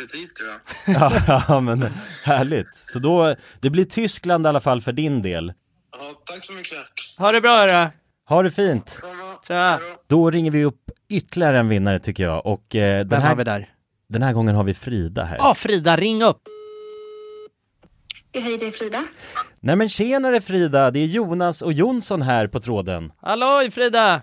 [SPEAKER 4] precis tror jag.
[SPEAKER 3] ja, men härligt. Så då, det blir Tyskland i alla fall för din del.
[SPEAKER 4] Ja, tack så mycket.
[SPEAKER 2] Ha det bra hörru.
[SPEAKER 3] Ha det fint!
[SPEAKER 4] Samma.
[SPEAKER 2] Tja.
[SPEAKER 3] Då ringer vi upp ytterligare en vinnare tycker jag och eh, den,
[SPEAKER 2] Vem har vi
[SPEAKER 3] här,
[SPEAKER 2] där?
[SPEAKER 3] den här gången har vi Frida här.
[SPEAKER 2] Ja, Frida, ring upp.
[SPEAKER 10] Hej, det är Frida.
[SPEAKER 3] Nej men tjenare Frida, det är Jonas och Jonsson här på tråden.
[SPEAKER 2] Halloj Frida!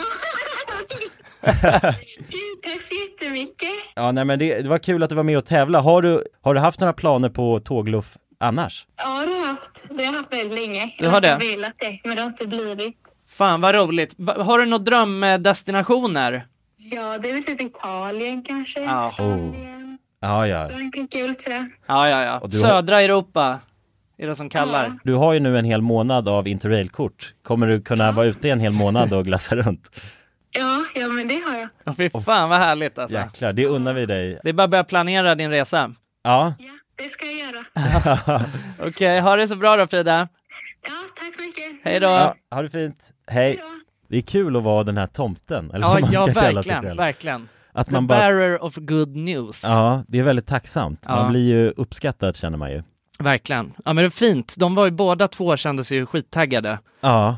[SPEAKER 10] Tack så jättemycket.
[SPEAKER 3] Ja, nej men det, det var kul att du var med och tävla. Har du, har du haft några planer på tågluff annars?
[SPEAKER 10] Ja, det har jag haft. Det har jag haft väldigt länge.
[SPEAKER 2] Du har
[SPEAKER 10] Jag
[SPEAKER 2] det?
[SPEAKER 10] har velat det, men det har inte blivit.
[SPEAKER 2] Fan vad roligt. Va- Har du några drömdestinationer?
[SPEAKER 10] Ja, det är väl typ Italien kanske.
[SPEAKER 2] Ja.
[SPEAKER 10] Spanien.
[SPEAKER 3] Ja, ja.
[SPEAKER 10] Frankrike är väl sådär.
[SPEAKER 2] Ja, ja, ja.
[SPEAKER 3] Och du har-
[SPEAKER 2] Södra Europa är det som kallar.
[SPEAKER 3] Du har ju nu en hel månad av interrailkort. Kommer du kunna vara ute en hel månad och glassa runt?
[SPEAKER 10] Ja, ja, men det har jag.
[SPEAKER 2] Åh, Fy fan vad härligt alltså.
[SPEAKER 3] Jäklar, det unnar vi dig.
[SPEAKER 2] Det är bara att börja planera din resa.
[SPEAKER 3] Ja,
[SPEAKER 10] Ja, det ska jag göra.
[SPEAKER 2] Okej, ha det så bra då Frida.
[SPEAKER 10] Ja, tack så mycket.
[SPEAKER 2] Hej då.
[SPEAKER 3] ja ha det fint. Hej. Det är kul att vara den här tomten, eller
[SPEAKER 2] Ja,
[SPEAKER 3] vad man
[SPEAKER 2] ja
[SPEAKER 3] ska kalla sig
[SPEAKER 2] verkligen,
[SPEAKER 3] själv.
[SPEAKER 2] verkligen.
[SPEAKER 3] Att
[SPEAKER 2] The
[SPEAKER 3] man bara...
[SPEAKER 2] bearer of good news.
[SPEAKER 3] Ja, det är väldigt tacksamt. Man
[SPEAKER 2] Ja.
[SPEAKER 3] blir ju uppskattad känner man ju.
[SPEAKER 2] Verkligen. Ja men det är fint. De var ju båda två kändes ju skittaggade
[SPEAKER 3] Ja,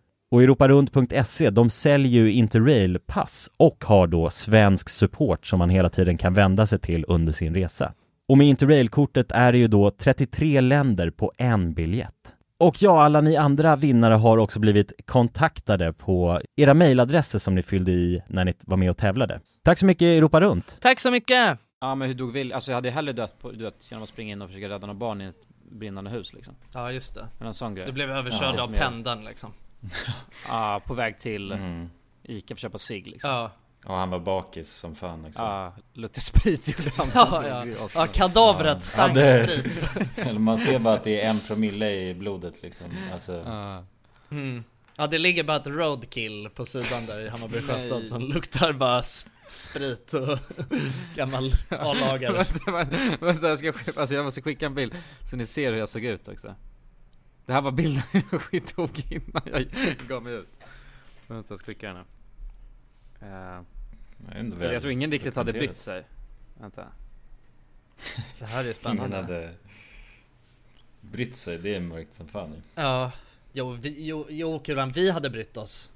[SPEAKER 3] Och europarunt.se,
[SPEAKER 11] E,
[SPEAKER 3] de säljer ju Interrail-pass och har då svensk support som man hela tiden kan vända sig till under sin resa. Och med Interrail-kortet är det ju då 33 länder på en biljett.
[SPEAKER 11] Och ja, alla ni andra vinnare har också blivit kontaktade på era mejladresser som ni fyllde i när ni var med och tävlade. Tack så mycket Europa runt!
[SPEAKER 12] Tack så mycket!
[SPEAKER 1] Ja men hur dog Will? Alltså jag hade hellre dött, på, dött genom att springa in och försöka rädda några barn i ett brinnande hus liksom.
[SPEAKER 2] Ja just det.
[SPEAKER 1] Men en sån grej.
[SPEAKER 2] Du blev överkörd
[SPEAKER 1] Ja.
[SPEAKER 2] av pendeln liksom.
[SPEAKER 1] Ja, på väg till
[SPEAKER 3] Mm.
[SPEAKER 1] Ica för att köpa cigg liksom. Ja,
[SPEAKER 2] Ja,
[SPEAKER 3] Och han var bakis som fan liksom. också.
[SPEAKER 1] luktar sprit gjorde han.
[SPEAKER 2] ja, ja. ja kadavret stank
[SPEAKER 3] det-
[SPEAKER 2] sprit.
[SPEAKER 3] Eller Man ser bara att det är en promille i blodet liksom. Alltså,
[SPEAKER 1] Ja.
[SPEAKER 2] Mm. Ja det ligger bara ett roadkill på sidan där i Hammarby sjöstad som luktar bara s- sprit och gammal A-lagare.
[SPEAKER 1] vänta, vänta, vänta, jag, ska, sk- alltså jag måste skicka en bild så ni ser hur jag såg ut också. Det här var bilden jag tog innan jag gav mig ut. Vänta, jag ska skicka den här. Eh,
[SPEAKER 3] jag, vet inte
[SPEAKER 1] för
[SPEAKER 3] väl
[SPEAKER 1] jag tror ingen riktigt hade
[SPEAKER 3] dokumenterat.
[SPEAKER 1] brytt sig. Vänta.
[SPEAKER 2] Det här är
[SPEAKER 3] Ingen
[SPEAKER 2] spännande.
[SPEAKER 3] hade brytt sig. Det är mörkt som fan ju.
[SPEAKER 2] Ja. Jo, vi, jo, jo Kulan, vi hade brytt oss.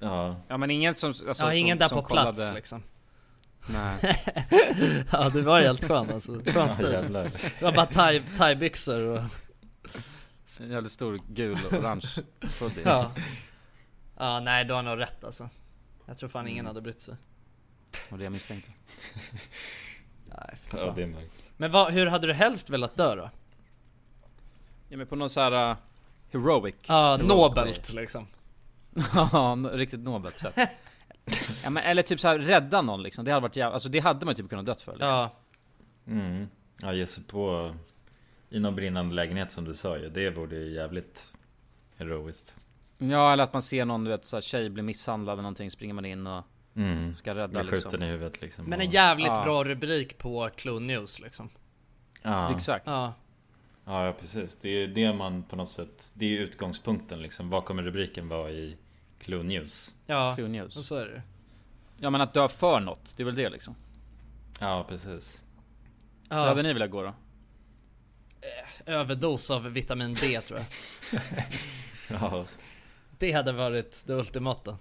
[SPEAKER 3] Ja,
[SPEAKER 1] Ja men ingen som... Alltså,
[SPEAKER 2] Ja,
[SPEAKER 1] som,
[SPEAKER 2] ingen där
[SPEAKER 1] som
[SPEAKER 2] på
[SPEAKER 1] kollade.
[SPEAKER 2] plats liksom.
[SPEAKER 1] Nej.
[SPEAKER 2] Ja, det var helt skön alltså. Skön
[SPEAKER 3] ja
[SPEAKER 2] stil.
[SPEAKER 3] jävlar.
[SPEAKER 2] Det var bara thai- thaibyxor och...
[SPEAKER 1] En jävligt stor gul och orange hoodie.
[SPEAKER 2] Ja. ja, nej du har nog rätt alltså. Jag tror fan ingen hade brytt sig.
[SPEAKER 1] Och det jag misstänkte.
[SPEAKER 2] Nej, för
[SPEAKER 3] Ja, det
[SPEAKER 2] fan.
[SPEAKER 3] är mörkt.
[SPEAKER 2] Men vad, hur hade du helst velat dö då?
[SPEAKER 1] Ja men på någon så här... eh, heroic.
[SPEAKER 2] Ja,
[SPEAKER 1] Heroic way.
[SPEAKER 2] nobelt liksom.
[SPEAKER 1] Ja, n- riktigt nobelt sätt. ja, men, eller typ så här rädda någon liksom. Det hade varit jävla, alltså det hade man typ kunnat dött för. Liksom.
[SPEAKER 2] Ja,
[SPEAKER 3] Mm. Ja, ge sig på i någon brinnande lägenhet som du sa ju. Det vore ju jävligt heroiskt.
[SPEAKER 1] ja, eller att man ser någon, du vet, så här, tjej bli misshandlad eller någonting, springer man in och
[SPEAKER 3] Mm.
[SPEAKER 1] ska rädda
[SPEAKER 3] Bli
[SPEAKER 1] liksom.
[SPEAKER 3] skjuten i huvudet liksom.
[SPEAKER 2] men
[SPEAKER 3] och-
[SPEAKER 2] en jävligt
[SPEAKER 1] Ja.
[SPEAKER 2] bra rubrik på Clue News liksom.
[SPEAKER 3] ja.
[SPEAKER 1] Exakt.
[SPEAKER 2] Ja,
[SPEAKER 3] Ja, ja, precis. Det är ju det man på något sätt... Det är ju utgångspunkten liksom. Vad kommer rubriken vara i Clue News?
[SPEAKER 2] ja.
[SPEAKER 1] True
[SPEAKER 2] Och
[SPEAKER 1] news.
[SPEAKER 2] så är det
[SPEAKER 1] Ja men att dö för något, det är väl det liksom.
[SPEAKER 3] Ja, precis.
[SPEAKER 1] Hur
[SPEAKER 2] ja,
[SPEAKER 1] hade ni velat gå då?
[SPEAKER 2] Överdos av vitamin D tror jag.
[SPEAKER 3] Ja,
[SPEAKER 2] Det hade varit det ultimata.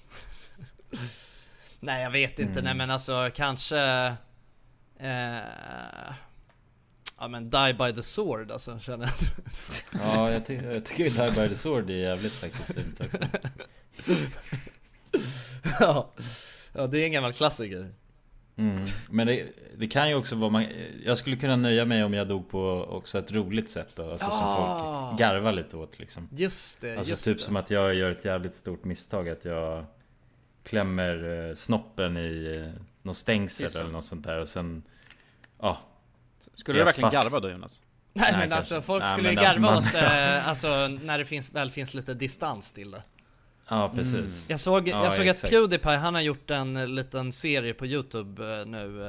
[SPEAKER 2] Nej jag vet inte, nej men alltså kanske... Eh, ja men die by the sword alltså känner jag.
[SPEAKER 3] ja jag, ty- jag tycker ju Die by the Sword är jävligt faktiskt fint också.
[SPEAKER 2] ja. ja det är en gammal klassiker.
[SPEAKER 3] Mm. Men det, det kan ju också vara... Man, jag skulle kunna nöja mig om jag dog på också ett roligt sätt då. Alltså som
[SPEAKER 2] Ah.
[SPEAKER 3] folk garvar lite åt liksom.
[SPEAKER 2] Just det,
[SPEAKER 3] Alltså
[SPEAKER 2] just
[SPEAKER 3] typ
[SPEAKER 2] det.
[SPEAKER 3] som att jag gör ett jävligt stort misstag att jag klämmer eh, snoppen i eh, någon stängsel
[SPEAKER 1] Kissen.
[SPEAKER 3] eller något sånt där och sen... Ja,
[SPEAKER 1] Skulle du
[SPEAKER 3] Jag
[SPEAKER 1] verkligen
[SPEAKER 3] fast-
[SPEAKER 1] garva då Jonas?
[SPEAKER 2] Nej,
[SPEAKER 3] Nej,
[SPEAKER 2] men
[SPEAKER 3] kanske.
[SPEAKER 2] alltså folk
[SPEAKER 3] Nej,
[SPEAKER 2] skulle ju
[SPEAKER 3] men alltså,
[SPEAKER 2] garva
[SPEAKER 3] man-
[SPEAKER 2] åt eh, alltså när det finns, väl finns lite distans till det.
[SPEAKER 3] ja precis.
[SPEAKER 2] Jag såg,
[SPEAKER 3] Mm. Ja,
[SPEAKER 2] jag såg att
[SPEAKER 3] exakt.
[SPEAKER 2] Pewdiepie, han har gjort en eh, liten serie på Youtube eh, nu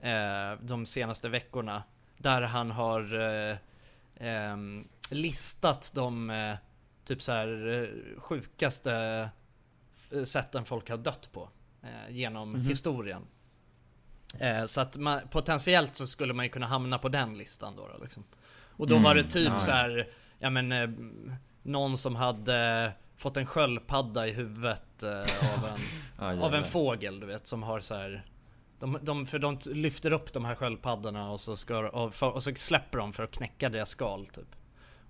[SPEAKER 2] eh, de senaste veckorna. Där han har eh, ehm, listat de eh, typ så här eh, sjukaste eh, sätten folk har dött på. Eh, genom
[SPEAKER 3] Mhm.
[SPEAKER 2] historien. Eh, så att man, potentiellt så skulle man ju kunna hamna på den listan då. då liksom. Och då var det typ så här, ja men eh, någon som hade fått en sköldpadda i huvudet eh, av, en,
[SPEAKER 3] Ja,
[SPEAKER 2] av
[SPEAKER 3] jävlar.
[SPEAKER 2] en fågel du vet som har så här de, de, för de t- lyfter upp de här sköldpaddorna och så, ska, och, för, och så släpper de för att knäcka deras skal typ.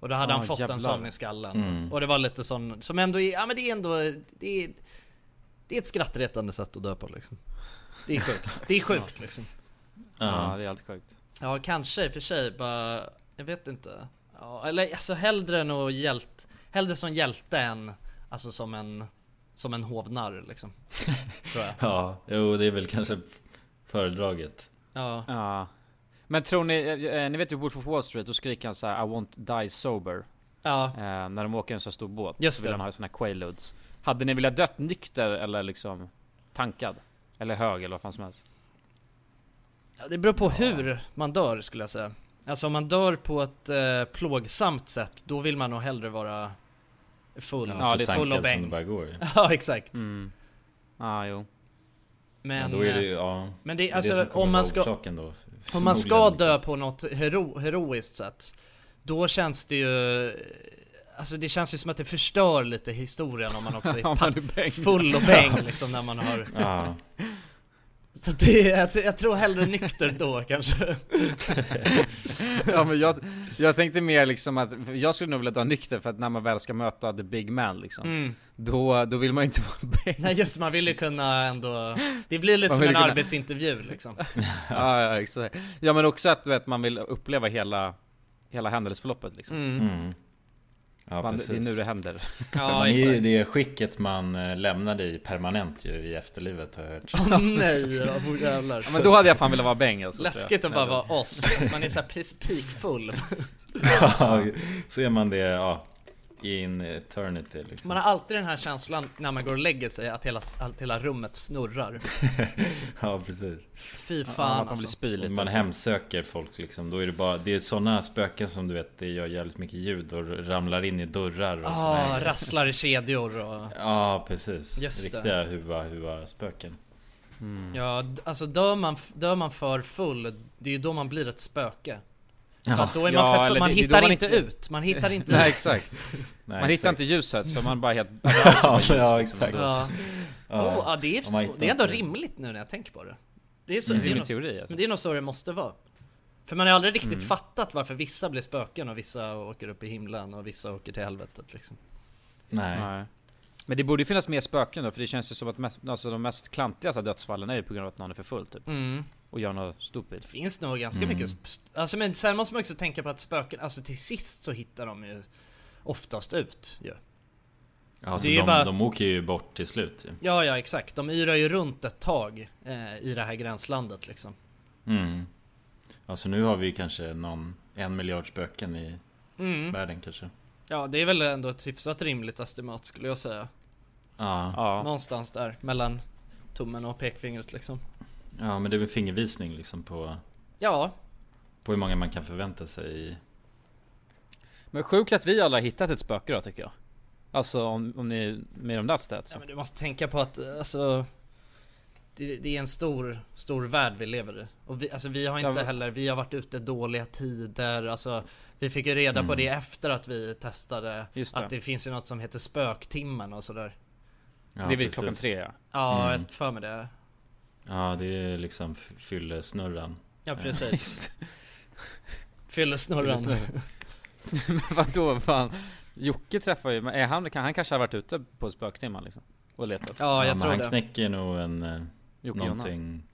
[SPEAKER 2] Och då hade
[SPEAKER 1] Ah,
[SPEAKER 2] han fått
[SPEAKER 1] jävlar.
[SPEAKER 2] en sån i skallen. Och det var lite sån, som ändå är, ja men det är ändå, det är, det är ett skrattretande sätt att dö på liksom. Det är sjukt, det är sjukt liksom.
[SPEAKER 1] Ja,
[SPEAKER 3] Ja.
[SPEAKER 1] det är allt sjukt.
[SPEAKER 2] Ja, kanske i och för sig. Bara, jag vet inte. Ja, eller alltså hellre än att hjält, hellre som hjälte än alltså som en, som en hovnarr liksom. Tror jag.
[SPEAKER 3] Ja, jo det är väl kanske föredraget.
[SPEAKER 2] Ja.
[SPEAKER 1] Ja. Men tror ni, eh, eh, ni vet ju Wolf of Wall Street, då skriker han så här I won't die sober.
[SPEAKER 2] Ja.
[SPEAKER 1] Eh, när de åker en så stor båt
[SPEAKER 2] Just
[SPEAKER 1] så vill
[SPEAKER 2] det.
[SPEAKER 1] han ha såna här quaaludes. Hade ni velat dött nykter eller liksom tankad? Eller hög eller vad fan som helst?
[SPEAKER 2] Ja, Det beror på hur man dör skulle jag säga. Alltså om man dör på ett eh, plågsamt sätt, då vill man nog hellre vara full.
[SPEAKER 1] Ja, det är
[SPEAKER 2] full och
[SPEAKER 3] tankad som
[SPEAKER 2] bäng.
[SPEAKER 3] det bara går. ju.
[SPEAKER 2] Ja, exakt.
[SPEAKER 1] Ja, ah, jo.
[SPEAKER 2] Men, eh,
[SPEAKER 3] Men då är det ju, ja.
[SPEAKER 2] men det-
[SPEAKER 3] är
[SPEAKER 2] Mm. alltså,
[SPEAKER 3] som kommer
[SPEAKER 2] om man
[SPEAKER 3] vara
[SPEAKER 2] ska-
[SPEAKER 3] orsaken då,
[SPEAKER 2] Om man ska
[SPEAKER 3] förmodligen,
[SPEAKER 1] liksom.
[SPEAKER 2] dö på något hero, heroiskt sätt Då känns det ju Alltså det känns ju som att det förstör lite historien om man också är,
[SPEAKER 1] Om man
[SPEAKER 2] pa-
[SPEAKER 1] är bäng.
[SPEAKER 2] full och bäng liksom när man har
[SPEAKER 3] liksom. Ja,
[SPEAKER 2] Så det, är- jag, jag tror hellre nykter då kanske.
[SPEAKER 1] ja, men jag, jag tänkte mer liksom att jag skulle nog vilja ta nykter för att när man väl ska möta the big man liksom.
[SPEAKER 2] Mm.
[SPEAKER 1] Då, då vill man ju inte vara bäng.
[SPEAKER 2] Nej just man vill ju kunna ändå, det blir lite
[SPEAKER 1] Man
[SPEAKER 2] som
[SPEAKER 1] vill
[SPEAKER 2] en
[SPEAKER 1] kunna-
[SPEAKER 2] arbetsintervju liksom.
[SPEAKER 1] ja, ja, exakt. ja men också att du vet, man vill uppleva hela, hela händelseförloppet liksom.
[SPEAKER 2] Mm.
[SPEAKER 3] Mm. Ja,
[SPEAKER 1] man, det är
[SPEAKER 3] precis.
[SPEAKER 1] nu det händer.
[SPEAKER 2] Ja,
[SPEAKER 3] det är ju
[SPEAKER 2] exakt.
[SPEAKER 3] det skicket man eh, lämnade i permanent ju i efterlivet har jag hört.
[SPEAKER 2] Åh nej, oh, jävlar.
[SPEAKER 1] Ja, men då hade jag fan velat vara bäng alltså, tror jag.
[SPEAKER 2] Läskigt att bara
[SPEAKER 1] Nej, då-
[SPEAKER 2] vara oss, man är såhär precis peakfull.
[SPEAKER 3] Ja, så är man det ja, i en eternity liksom.
[SPEAKER 2] Man har alltid den här känslan när man går och lägger sig att hela, att hela rummet snurrar.
[SPEAKER 3] Ja precis.
[SPEAKER 2] Fy
[SPEAKER 1] Ja, man
[SPEAKER 2] fan
[SPEAKER 1] kommer bli
[SPEAKER 2] alltså.
[SPEAKER 1] spylig.
[SPEAKER 3] Om man hemsöker folk liksom, då är det bara, det är sådana spöken som du vet, det gör jävligt mycket ljud och ramlar in i dörrar och
[SPEAKER 2] Ah,
[SPEAKER 1] alltså,
[SPEAKER 3] sådär.
[SPEAKER 2] rasslar i kedjor och...
[SPEAKER 3] Ja precis.
[SPEAKER 2] Just det.
[SPEAKER 3] Riktiga huva huva spöken.
[SPEAKER 2] Ja, d- alltså dör man, dör man för full, det är ju då man blir ett spöke. För att då är man
[SPEAKER 1] Ja,
[SPEAKER 2] för
[SPEAKER 1] eller
[SPEAKER 2] full, man
[SPEAKER 1] det- det är då
[SPEAKER 2] hittar
[SPEAKER 1] man
[SPEAKER 2] inte
[SPEAKER 1] inte-
[SPEAKER 2] ut. Man hittar inte
[SPEAKER 1] Nej
[SPEAKER 2] ut.
[SPEAKER 1] exakt.
[SPEAKER 3] Nej,
[SPEAKER 1] Man hittar
[SPEAKER 3] exakt.
[SPEAKER 1] inte ljuset för man bara helt...
[SPEAKER 3] Ja, ja exakt.
[SPEAKER 2] Ja. Oh, ja, det,
[SPEAKER 3] Om man
[SPEAKER 2] är,
[SPEAKER 3] hittar
[SPEAKER 2] det är ändå
[SPEAKER 3] inte.
[SPEAKER 2] rimligt nu när jag tänker på det. Det är, så, det, är
[SPEAKER 1] Rimlig
[SPEAKER 2] nog,
[SPEAKER 1] teori alltså.
[SPEAKER 2] det är nog så det måste vara. För man har aldrig
[SPEAKER 1] Mm.
[SPEAKER 2] riktigt fattat varför vissa blir spöken och vissa åker upp i himlen och vissa åker till helvetet liksom.
[SPEAKER 3] Nej.
[SPEAKER 1] Nej. Men det borde ju finnas mer spöken då, för det känns ju som att mest, alltså, de mest klantiga så här, dödsfallen är ju på grund av att någon är för full typ.
[SPEAKER 2] Mm.
[SPEAKER 1] Och gör något stupid.
[SPEAKER 2] Det finns nog ganska mycket... sp- Alltså men sen måste man också tänka på att spöken, alltså till sist så hittar de ju oftast ut ju.
[SPEAKER 3] Alltså,
[SPEAKER 2] Det är
[SPEAKER 3] de,
[SPEAKER 2] bara att-
[SPEAKER 3] de åker ju bort till slut ju.
[SPEAKER 2] Ja, ja exakt. De yrar ju runt ett tag eh, i det här gränslandet liksom.
[SPEAKER 3] Mm. Alltså nu har vi kanske någon en miljard spöken i världen kanske.
[SPEAKER 2] Ja, det är väl ändå ett hyfsat rimligt estimat skulle jag säga.
[SPEAKER 3] Ja. ja.
[SPEAKER 1] Ja.
[SPEAKER 2] Någonstans där mellan tummen och pekfingret liksom.
[SPEAKER 3] men det är väl fingervisning liksom på,
[SPEAKER 2] Ja,
[SPEAKER 3] på hur många man kan förvänta sig i...
[SPEAKER 1] Men sjukt att vi alla har hittat ett spöke då tycker jag. Alltså om, om ni är med om that stats.
[SPEAKER 2] ja men du måste tänka på att eh, alltså det, det är en stor, stor värld vi lever i. Och vi, alltså, vi har
[SPEAKER 1] Ja,
[SPEAKER 2] inte
[SPEAKER 1] men-
[SPEAKER 2] heller, vi har varit ute dåliga tider. Alltså, vi fick ju reda på det efter att vi testade
[SPEAKER 1] Mm. Just det.
[SPEAKER 2] att det finns ju något som heter spöktimmen och sådär.
[SPEAKER 3] Ja,
[SPEAKER 1] det är vid
[SPEAKER 3] precis.
[SPEAKER 1] klockan tre ja.
[SPEAKER 2] Ja,
[SPEAKER 1] Mm.
[SPEAKER 2] jag för mig det.
[SPEAKER 3] Ja, det är liksom f- fyllesnurran.
[SPEAKER 2] Ja precis. Fyllesnurran.
[SPEAKER 1] Men vadå fan? Jocke träffar ju, men är han, kan, han kanske har varit ute på spöktimman liksom? Och letat.
[SPEAKER 2] Ja, jag
[SPEAKER 3] men
[SPEAKER 2] tror
[SPEAKER 3] han
[SPEAKER 2] det.
[SPEAKER 3] knäcker nog en... eh,
[SPEAKER 1] Jocke Jonna.
[SPEAKER 3] någonting...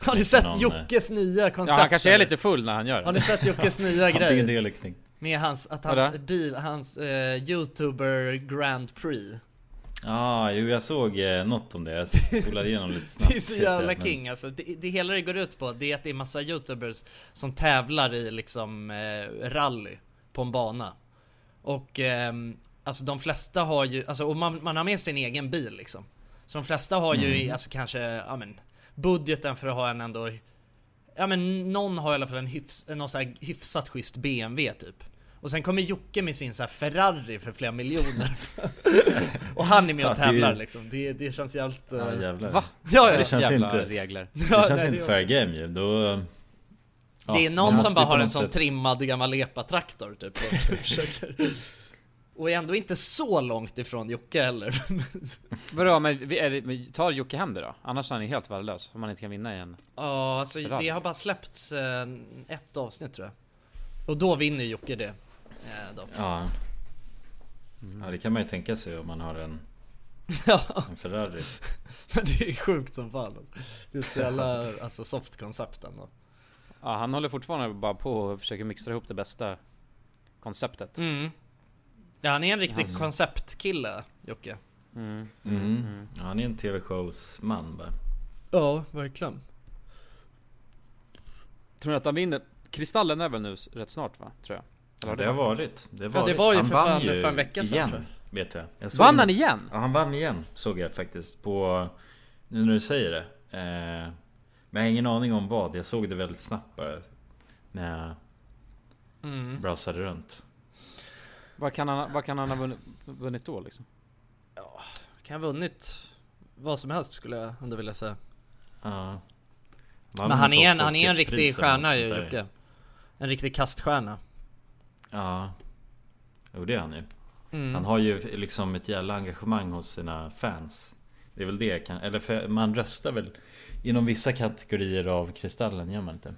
[SPEAKER 2] Har ni sett
[SPEAKER 3] någon, eh,
[SPEAKER 2] Jockes nya koncept?
[SPEAKER 1] Ja han kanske är
[SPEAKER 2] eller?
[SPEAKER 1] lite full när han gör
[SPEAKER 2] Har
[SPEAKER 1] det.
[SPEAKER 2] ni sett Jockes nya
[SPEAKER 3] Antingen det
[SPEAKER 2] grej?
[SPEAKER 3] eller knäck.
[SPEAKER 2] Med hans, att
[SPEAKER 1] Vadå?
[SPEAKER 2] han, bil, hans eh, youtuber Grand Prix.
[SPEAKER 3] Ja, jo jag såg eh, något om det. Jag spolade igenom lite snabbt.
[SPEAKER 2] Det är så jävla king alltså. Det, det hela det går ut på, det är att det är massa youtubers som tävlar i liksom eh, rally på en bana. Och ehm, alltså de flesta har ju, alltså och man, man har med sin egen bil liksom. Så de flesta har ju
[SPEAKER 3] Mm.
[SPEAKER 2] alltså kanske, ja men budgeten för att ha en ändå Ja men någon har i alla fall en hyfs, någon så här hyfsat schysst BMW typ. Och sen kommer Jocke med sin så här Ferrari för flera miljoner. och han är med och
[SPEAKER 3] Ja, det är ju-
[SPEAKER 2] tävlar liksom. Det, det känns jävligt... eh,
[SPEAKER 3] Ja, jävlar.
[SPEAKER 1] Va?
[SPEAKER 2] Ja, ja.
[SPEAKER 3] Det känns
[SPEAKER 1] Jävla
[SPEAKER 3] inte-
[SPEAKER 1] regler.
[SPEAKER 2] Ja,
[SPEAKER 3] Det känns
[SPEAKER 2] nej,
[SPEAKER 3] inte
[SPEAKER 2] det
[SPEAKER 3] fair game ju. Då... eh, ja,
[SPEAKER 2] Det är
[SPEAKER 3] man
[SPEAKER 2] någon
[SPEAKER 3] måste
[SPEAKER 2] som bara
[SPEAKER 3] ju på
[SPEAKER 2] har en
[SPEAKER 3] något
[SPEAKER 2] sån
[SPEAKER 3] sätt-
[SPEAKER 2] trimmad gammal epatraktor typ och försöker. Och är ändå inte så långt ifrån Jocke heller.
[SPEAKER 1] Vadå men, vi- är det, men tar Jocke hem det då? Annars är han ju helt värdelös om man inte kan vinna igen.
[SPEAKER 2] Ja, alltså
[SPEAKER 1] Ferrari.
[SPEAKER 2] det har bara släppts eh, ett avsnitt tror jag. Och då vinner Jocke det. Eh, då.
[SPEAKER 3] Ja. ja, det kan man ju tänka sig om man har en,
[SPEAKER 2] Ja,
[SPEAKER 3] en Ferrari.
[SPEAKER 2] men det är sjukt som fan. Alltså. Det är ett så jävla alltså, soft koncept ändå.
[SPEAKER 1] Ja, han håller fortfarande bara på och försöker mixtra ihop det bästa konceptet.
[SPEAKER 2] Mm. Ja, han är en riktig konceptkille, Jocke.
[SPEAKER 3] Mm. Ja, han är en TV-showsman bara.
[SPEAKER 2] Ja, verkligen.
[SPEAKER 1] Tror ni att han vinner? Kristallen är väl nu s- rätt snart va? Tror jag.
[SPEAKER 3] Ja, det har varit. Det, har
[SPEAKER 2] Ja, det
[SPEAKER 3] varit.
[SPEAKER 2] var ju
[SPEAKER 3] han
[SPEAKER 2] för
[SPEAKER 3] vann
[SPEAKER 2] fan-
[SPEAKER 3] ju
[SPEAKER 2] för en vecka sedan,
[SPEAKER 3] igen,
[SPEAKER 2] tror
[SPEAKER 3] vet jag. jag såg
[SPEAKER 1] Vann
[SPEAKER 3] det.
[SPEAKER 1] han igen?
[SPEAKER 3] Ja, han vann igen såg jag faktiskt på... Nu när du säger det. Eh, men jag har ingen aning om vad. Jag såg det väldigt snabbt bara. När jag
[SPEAKER 2] Mm.
[SPEAKER 3] brasade runt.
[SPEAKER 1] Vad kan han, vad kan han ha vunnit, vunnit då liksom?
[SPEAKER 2] Kan ha vunnit vad som helst skulle jag ändå vilja säga.
[SPEAKER 3] Ja. Vann
[SPEAKER 2] Men han
[SPEAKER 3] så
[SPEAKER 2] är en, han är en
[SPEAKER 3] Folkets
[SPEAKER 2] riktig
[SPEAKER 3] pris eller något
[SPEAKER 2] stjärna ju
[SPEAKER 3] sånt där.
[SPEAKER 2] Jocke. En riktig kaststjärna.
[SPEAKER 3] Ja. Jo det är han ju.
[SPEAKER 1] Mm.
[SPEAKER 3] Han har ju liksom ett jävla engagemang hos sina fans. Det är väl det kan, eller för man röstar väl inom vissa kategorier av kristallen gör man inte.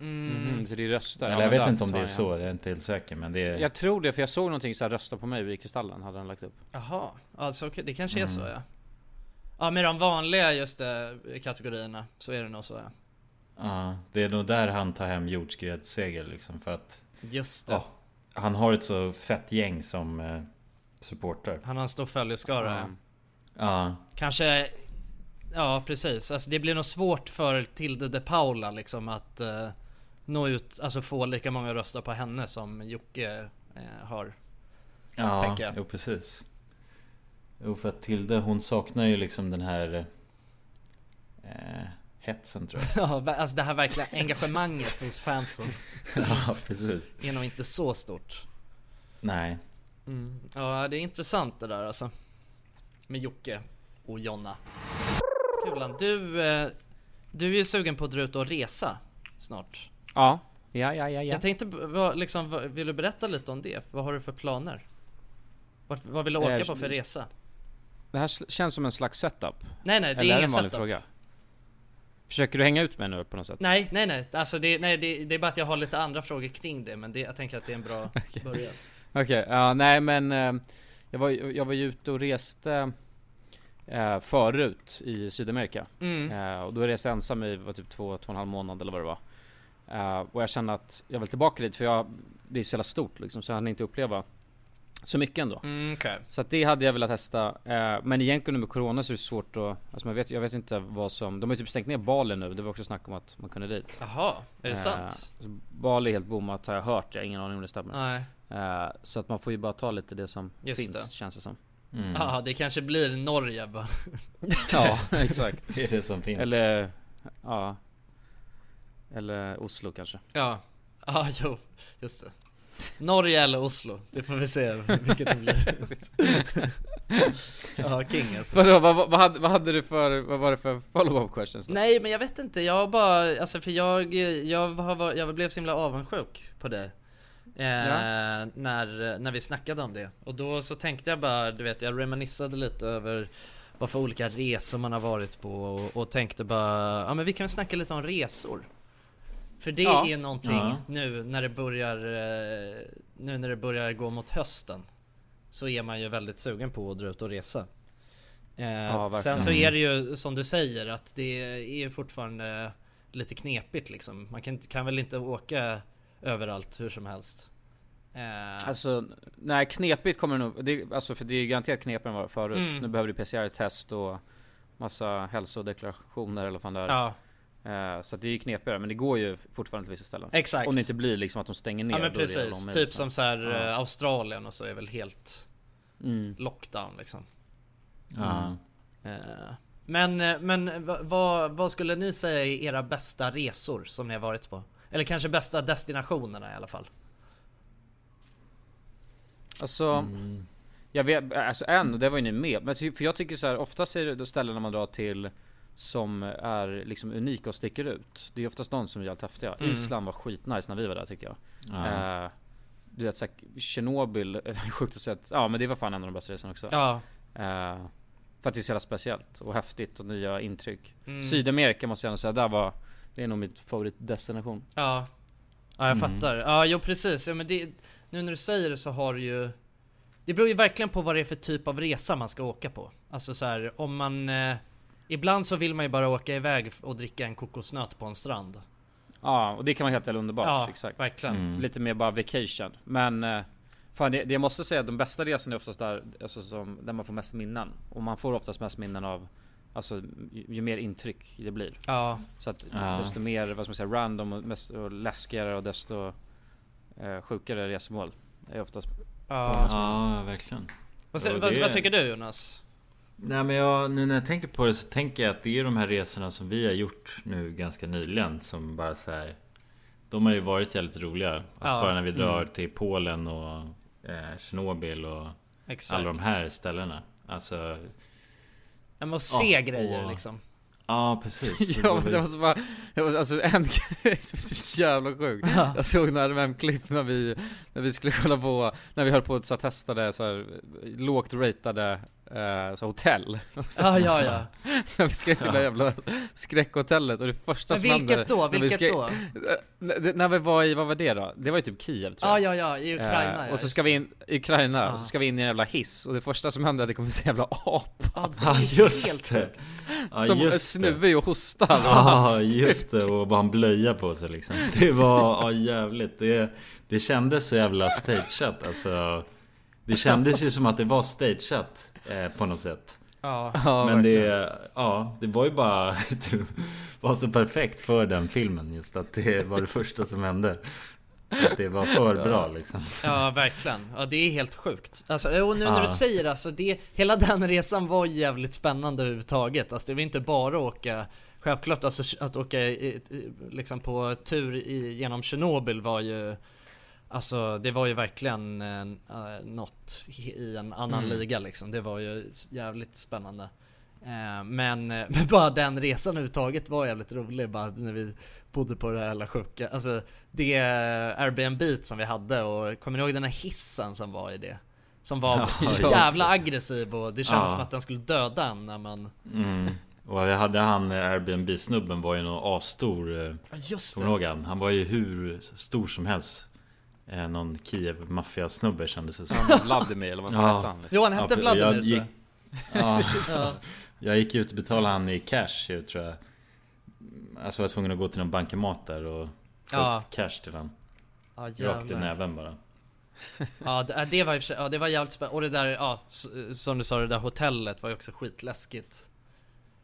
[SPEAKER 2] Mm.
[SPEAKER 1] Mhm, så det är röster.
[SPEAKER 3] Eller
[SPEAKER 1] Ja,
[SPEAKER 3] jag
[SPEAKER 1] men
[SPEAKER 3] vet
[SPEAKER 1] där
[SPEAKER 3] inte om
[SPEAKER 1] tar
[SPEAKER 3] det är
[SPEAKER 1] jag.
[SPEAKER 3] så, jag är inte helt säker men det är...
[SPEAKER 1] Jag tror det, för jag såg någonting så här rösta på mig i Kristallen, hade han lagt upp.
[SPEAKER 2] Jaha, alltså okej, det kanske är så
[SPEAKER 1] Mm.
[SPEAKER 2] ja. Ja med de vanliga just eh, kategorierna så är det nog så ja.
[SPEAKER 3] Ja, det är nog där han tar hem jordskredsseger liksom för att...
[SPEAKER 2] Just det.
[SPEAKER 3] Ja, han har ett så fett gäng som eh, supportar.
[SPEAKER 2] Han har en stor följeskara. ja.
[SPEAKER 3] Ja,
[SPEAKER 2] Kanske, ja precis. Alltså det blir nog svårt för Tilde de Paula liksom att eh, nå ut, alltså få lika många röster på henne som Jocke eh, har.
[SPEAKER 3] ja,
[SPEAKER 2] Tänker jag.
[SPEAKER 3] jo precis. Jo för att Tilde hon saknar ju liksom den här... Eh, hetsen tror jag.
[SPEAKER 2] Ja, va- alltså det här verkliga engagemanget hos fansen.
[SPEAKER 3] ja precis.
[SPEAKER 2] Är nog inte så stort.
[SPEAKER 3] Nej.
[SPEAKER 2] Mm. Ja, det är intressant det där alltså. Med Jocke och Jonna. Kulan, du, eh, du är ju sugen på att dra ut och resa snart.
[SPEAKER 1] Ja. Ja, ja, ja, ja.
[SPEAKER 2] Jag tänkte, b- vad, liksom, vad, vill du berätta lite om det? Vad har du för planer? Vart, vad vill du åka
[SPEAKER 1] Eh,
[SPEAKER 2] på för resa?
[SPEAKER 1] Det här sl- känns som en slags setup.
[SPEAKER 2] Nej, nej, det är
[SPEAKER 1] Eller är det
[SPEAKER 2] ingen
[SPEAKER 1] en vanlig
[SPEAKER 2] setup.
[SPEAKER 1] fråga? Försöker du hänga ut mig nu på något sätt?
[SPEAKER 2] Nej, nej, nej. Alltså det, nej det, det är bara att jag har lite andra frågor kring det, men det, jag tänker att det är en bra början.
[SPEAKER 1] Okej, ja nej men eh, jag var, ju- jag var ju ute och reste eh, förut i Sydamerika.
[SPEAKER 2] Mm.
[SPEAKER 1] Eh, och då reste jag ensam i var typ två, två och en halv månad eller vad det var. Eh, och jag kände att jag vill tillbaka dit för jag, det är så jävla stort liksom så jag hann inte uppleva så mycket ändå.
[SPEAKER 2] Mm, okej.
[SPEAKER 1] Så att det hade jag velat testa. Eh, men egentligen nu med Corona så är det svårt att, alltså man vet, jag vet inte vad som, de har ju typ stängt ner Bali nu. Det var också snack om att man kunde dit.
[SPEAKER 2] Jaha, är det
[SPEAKER 1] Eh,
[SPEAKER 2] sant?
[SPEAKER 1] så Bali är helt bommat har jag hört, jag har ingen aning om det stämmer.
[SPEAKER 2] Nej.
[SPEAKER 1] Eh, så att man får ju bara ta lite det som
[SPEAKER 2] Just
[SPEAKER 1] finns
[SPEAKER 2] det.
[SPEAKER 1] känns det som.
[SPEAKER 2] Ja, Ah, det kanske blir Norge bara.
[SPEAKER 1] Ja, exakt.
[SPEAKER 3] Det är det som finns.
[SPEAKER 1] Eller, ja. Eller Oslo kanske.
[SPEAKER 2] Ja, ja jo, just det. Norge eller Oslo, det får vi se vilket det blir. ja, king alltså.
[SPEAKER 1] Vadå, vad, vad, hade, vad hade du för, vad var det för follow-up questions då?
[SPEAKER 2] Nej men jag vet inte, jag har bara, alltså för jag, jag, har, jag blev så himla avundsjuk på dig. Eh,
[SPEAKER 1] Ja.
[SPEAKER 2] när, när vi snackade om det. Och då så tänkte jag bara, du vet, jag reminissade lite över vad för olika resor man har varit på och, och tänkte bara, ja men vi kan väl snacka lite om resor. För det
[SPEAKER 1] Ja.
[SPEAKER 2] är någonting
[SPEAKER 1] Ja.
[SPEAKER 2] nu när det börjar, eh, nu när det börjar gå mot hösten. Så är man ju väldigt sugen på att dra ut och resa. Eh,
[SPEAKER 1] verkligen.
[SPEAKER 2] sen så är det ju som du säger att det är ju fortfarande lite knepigt liksom. Man kan, kan väl inte åka överallt hur som helst. Eh,
[SPEAKER 1] Alltså, nej knepigt kommer det nog, det, alltså för det är ju garanterat knepigare än vad det var förut.
[SPEAKER 2] Mm.
[SPEAKER 1] Nu behöver du PCR-test och massa hälsodeklarationer eller vad fan det är.
[SPEAKER 2] Ja.
[SPEAKER 1] Eh, så att det är ju knepigare, men det går ju fortfarande till vissa ställen.
[SPEAKER 2] Exakt.
[SPEAKER 1] Om det inte blir liksom att de stänger ner.
[SPEAKER 2] ja men
[SPEAKER 1] då är det jävla
[SPEAKER 2] precis,
[SPEAKER 1] omöjligt.
[SPEAKER 2] typ som så här
[SPEAKER 1] Ja.
[SPEAKER 2] eh, Australien och så är väl helt
[SPEAKER 1] Mm.
[SPEAKER 2] lockdown liksom.
[SPEAKER 3] Ja.
[SPEAKER 2] Eh, Men, eh, men va- vad, vad skulle ni säga är era bästa resor som ni har varit på? Eller kanske bästa destinationerna i alla fall?
[SPEAKER 1] Alltså, jag vet, alltså en, och det var ju ni med. Men ty- för jag tycker så här, oftast är det då ställen när man drar till som är liksom unika och sticker ut. Det är oftast de som är jävligt häftiga.
[SPEAKER 2] Mm.
[SPEAKER 1] Island var skitnice när vi var där tycker jag.
[SPEAKER 3] Ja.
[SPEAKER 1] Eh, du vet såhär, Tjernobyl, sjukt att säga att- Ja men det var fan en av de bästa resorna också.
[SPEAKER 2] Ja.
[SPEAKER 1] Eh, för att det är så jävla speciellt och häftigt och nya intryck.
[SPEAKER 2] Mm.
[SPEAKER 1] Sydamerika måste jag ändå säga, där var det är nog mitt favoritdestination.
[SPEAKER 2] Ja, ja jag
[SPEAKER 1] Mm.
[SPEAKER 2] fattar. Ja, jo precis. Ja, men det, nu när du säger det så har du ju... Det beror ju verkligen på vad det är för typ av resa man ska åka på. Alltså så här, om man... Eh, ibland så vill man ju bara åka iväg och dricka en kokosnöt på en strand.
[SPEAKER 1] Ja, och det kan vara helt jävla underbart.
[SPEAKER 2] Ja,
[SPEAKER 1] exakt.
[SPEAKER 2] verkligen. Mm.
[SPEAKER 1] Lite mer bara vacation. Men eh, fan, det, det jag måste säga att de bästa resorna är oftast där, alltså, som, där man får mest minnen. Och man får oftast mest minnen av Alltså ju, ju mer intryck det blir.
[SPEAKER 2] Ja.
[SPEAKER 1] Så att
[SPEAKER 2] Ja.
[SPEAKER 1] desto mer, vad ska man säga, random och, mest, och läskigare och desto eh, sjukare resmål. Är oftast
[SPEAKER 2] Ja.
[SPEAKER 3] ja, verkligen.
[SPEAKER 2] Vad, sä-
[SPEAKER 3] Och
[SPEAKER 2] vad,
[SPEAKER 3] det-
[SPEAKER 2] vad tycker du Jonas?
[SPEAKER 3] Nej men jag, nu när jag tänker på det så tänker jag att det är de här resorna som vi har gjort nu ganska nyligen som bara så här. De har ju varit jävligt roliga. Alltså
[SPEAKER 2] Ja.
[SPEAKER 3] bara när vi drar
[SPEAKER 2] Mm.
[SPEAKER 3] till Polen och eh, Tjernobyl och
[SPEAKER 2] Exakt.
[SPEAKER 3] alla de här ställena. Alltså...
[SPEAKER 2] Ja, men att se
[SPEAKER 3] Ja,
[SPEAKER 2] grejer
[SPEAKER 3] och-
[SPEAKER 2] liksom.
[SPEAKER 3] Ja precis. Så
[SPEAKER 1] Ja men
[SPEAKER 3] var
[SPEAKER 1] det
[SPEAKER 3] ju-
[SPEAKER 1] var så bara, det var alltså en grej som är så jävla sjuk. Jag såg några RMM-klipp när vi, när vi skulle kolla på, när vi höll på att så här, testa det så här, lågt ratade eh, så hotell. Så
[SPEAKER 2] Ja, ja, ja.
[SPEAKER 1] vi ska till det där jävla skräckhotellet och det första
[SPEAKER 2] Men
[SPEAKER 1] som händer-
[SPEAKER 2] vilket då?
[SPEAKER 1] när vi ska-
[SPEAKER 2] Vilket då?
[SPEAKER 1] Eh, när- När vi var i, vad var det då? Det var ju typ Kiev tror
[SPEAKER 2] Ja,
[SPEAKER 1] jag.
[SPEAKER 2] ja, ja, i Ukraina.
[SPEAKER 1] Eh,
[SPEAKER 2] ja,
[SPEAKER 1] och så
[SPEAKER 2] just
[SPEAKER 1] ska
[SPEAKER 2] det.
[SPEAKER 1] vi in i Ukraina,
[SPEAKER 2] Ja.
[SPEAKER 1] och så ska vi in i en jävla hiss och det första som händer är att det kommer en jävla apa
[SPEAKER 2] Ja, det är
[SPEAKER 3] just
[SPEAKER 2] helt
[SPEAKER 3] det.
[SPEAKER 2] sjukt.
[SPEAKER 3] Ja,
[SPEAKER 1] som är
[SPEAKER 3] just det.
[SPEAKER 1] snuvig och Alltså. hostar. och
[SPEAKER 3] Ja
[SPEAKER 1] allt.
[SPEAKER 3] just det och bara en blöja på sig liksom Det var ja, jävligt det, det kändes så jävla stageat alltså Det kändes ju som att det var stageat eh, på något sätt
[SPEAKER 2] Ja.
[SPEAKER 1] Ja,
[SPEAKER 3] Men
[SPEAKER 1] verkligen.
[SPEAKER 3] det, ja, det var ju bara Det var så perfekt för den filmen just att det var det första som hände Att det var för bra liksom
[SPEAKER 2] Ja, verkligen. Ja, det är helt sjukt. Alltså, och nu när
[SPEAKER 3] Ja.
[SPEAKER 2] du säger det, alltså, det, hela den resan var jävligt spännande överhuvudtaget. Alltså, det var inte bara att åka, självklart alltså, att åka i, i- liksom på tur i, genom Tjernobyl var ju, alltså det var ju verkligen eh, eh, något i en annan
[SPEAKER 3] Mm.
[SPEAKER 2] liga liksom. Det var ju s- jävligt spännande. Eh, Men, eh, men bara den resan överhuvudtaget var jävligt rolig bara när vi bodde på det här jävla sjuka. Alltså det eh, Airbnb som vi hade och kommer ni ihåg den här hissen som var i det? Som var så
[SPEAKER 3] just
[SPEAKER 2] jävla aggressiv och det kändes
[SPEAKER 3] Ja.
[SPEAKER 2] som att den skulle döda en när man...
[SPEAKER 3] mm. Och vi hade han eh, Airbnb-snubben var ju någon asstor eh,
[SPEAKER 2] Ja just
[SPEAKER 3] Kommer du ihåg han? Han var ju hur stor som helst eh, Någon Kiev maffiasnubbe kändes det som
[SPEAKER 1] Vladimir eller vad fan
[SPEAKER 3] Ja.
[SPEAKER 1] hette han? liksom?
[SPEAKER 2] Jo han hette
[SPEAKER 3] Ja,
[SPEAKER 2] Vladimir tror
[SPEAKER 3] gick,
[SPEAKER 2] jag.
[SPEAKER 3] ja,
[SPEAKER 2] Ja.
[SPEAKER 3] jag gick ut och betalade han i cash ju, tror jag Alltså jag var tvungen att gå till någon bankomat där och få
[SPEAKER 2] Ja.
[SPEAKER 3] upp cash till han
[SPEAKER 2] Ja,
[SPEAKER 3] Rakt i
[SPEAKER 2] jävlar.
[SPEAKER 3] näven bara
[SPEAKER 2] Ja det, det var i och för sig, ja det var jävligt spännande. Och det där, ja s- som du sa det där hotellet var ju också skitläskigt.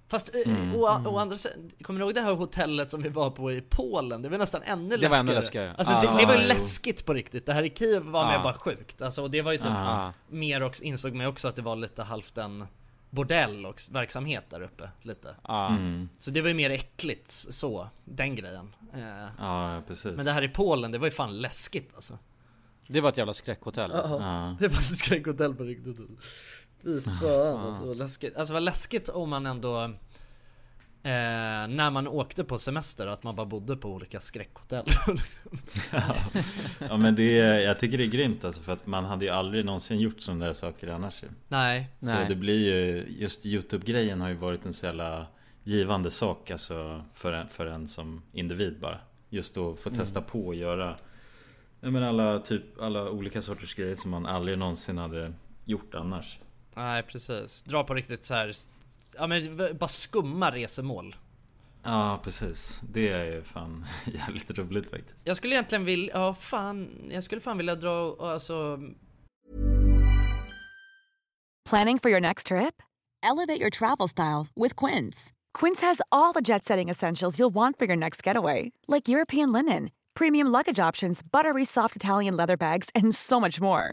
[SPEAKER 2] Fast eh,
[SPEAKER 1] Mm.
[SPEAKER 2] å, å andra sidan, kommer du ihåg det här hotellet som vi var på i Polen? Det var nästan ännu läskigare.
[SPEAKER 1] Det var ännu läskigare.
[SPEAKER 2] Alltså
[SPEAKER 1] Ah,
[SPEAKER 2] det, det var ju
[SPEAKER 3] jo.
[SPEAKER 2] läskigt på riktigt. Det här i Kiev var mer
[SPEAKER 1] Ah.
[SPEAKER 2] bara sjukt. Alltså och det var ju typ
[SPEAKER 1] Ah.
[SPEAKER 2] mer också, insåg man ju också att det var lite halvt en bordell och s- verksamhet där uppe. Lite.
[SPEAKER 1] Ja.
[SPEAKER 3] mm.
[SPEAKER 2] Så det var ju mer äckligt s- så, den grejen. Eh,
[SPEAKER 3] Ja ja, precis
[SPEAKER 2] men det här i Polen, det var ju fan läskigt alltså.
[SPEAKER 1] Det var ett jävla skräckhotell. alltså.
[SPEAKER 3] ja.
[SPEAKER 2] Det var ett skräckhotell på riktigt
[SPEAKER 3] Ah,
[SPEAKER 2] Fy fan alltså vad läskigt Alltså vad läskigt om man ändå eh, När man åkte på semester att man bara bodde på olika skräckhotell
[SPEAKER 3] ja men det är, jag tycker det är grymt alltså för att man hade ju aldrig någonsin gjort sådana där saker annars ju.
[SPEAKER 2] Nej
[SPEAKER 1] Nej.
[SPEAKER 3] Så det blir ju, just Youtube-grejen har ju varit en så jävla givande sak alltså för en, för en som individ bara. Just att få testa
[SPEAKER 2] Mm.
[SPEAKER 3] på och göra jag menar alla, typ, alla olika sorters grejer som man aldrig någonsin hade gjort annars.
[SPEAKER 2] Nej precis Dra på riktigt så här. Ja men v- bara skumma resemål
[SPEAKER 3] Ja precis, det är ju fan jävligt roligt faktiskt.
[SPEAKER 2] Jag skulle egentligen vilja, ja fan Jag skulle fan vilja dra och- alltså
[SPEAKER 7] Planning for your next trip? Elevate your travel style with Quince. Quince has all the jet setting essentials you'll want for your next getaway, like European linen, premium luggage options, buttery soft Italian leather bags, and so much more.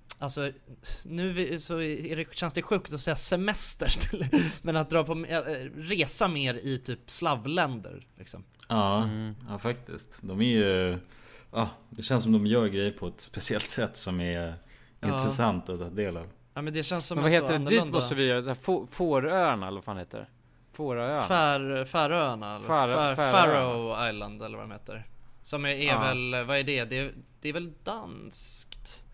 [SPEAKER 2] Alltså nu vi- så är det, känns det sjukt att säga semester till, Men att dra på eh, eh, resa mer i typ slavländer liksom.
[SPEAKER 3] Ja, ja faktiskt. De är ju... Ja, det känns som de gör grejer på ett speciellt sätt som är
[SPEAKER 2] Ja.
[SPEAKER 3] intressant att ta del av.
[SPEAKER 2] Ja men det känns som
[SPEAKER 1] Men vad
[SPEAKER 2] en så
[SPEAKER 1] heter det? Dit
[SPEAKER 2] Alltså, annorlunda-
[SPEAKER 1] måste vi göra, det här Få- Fåröarna eller vad fan heter det? Fåröarna?
[SPEAKER 2] Fär, Färöarna eller?
[SPEAKER 1] Fär-
[SPEAKER 2] Fär,
[SPEAKER 1] Färöarna.
[SPEAKER 2] Faroe Island eller vad de heter Som är, är
[SPEAKER 1] Ja.
[SPEAKER 2] väl, vad är det? det? är- Det är väl danskt?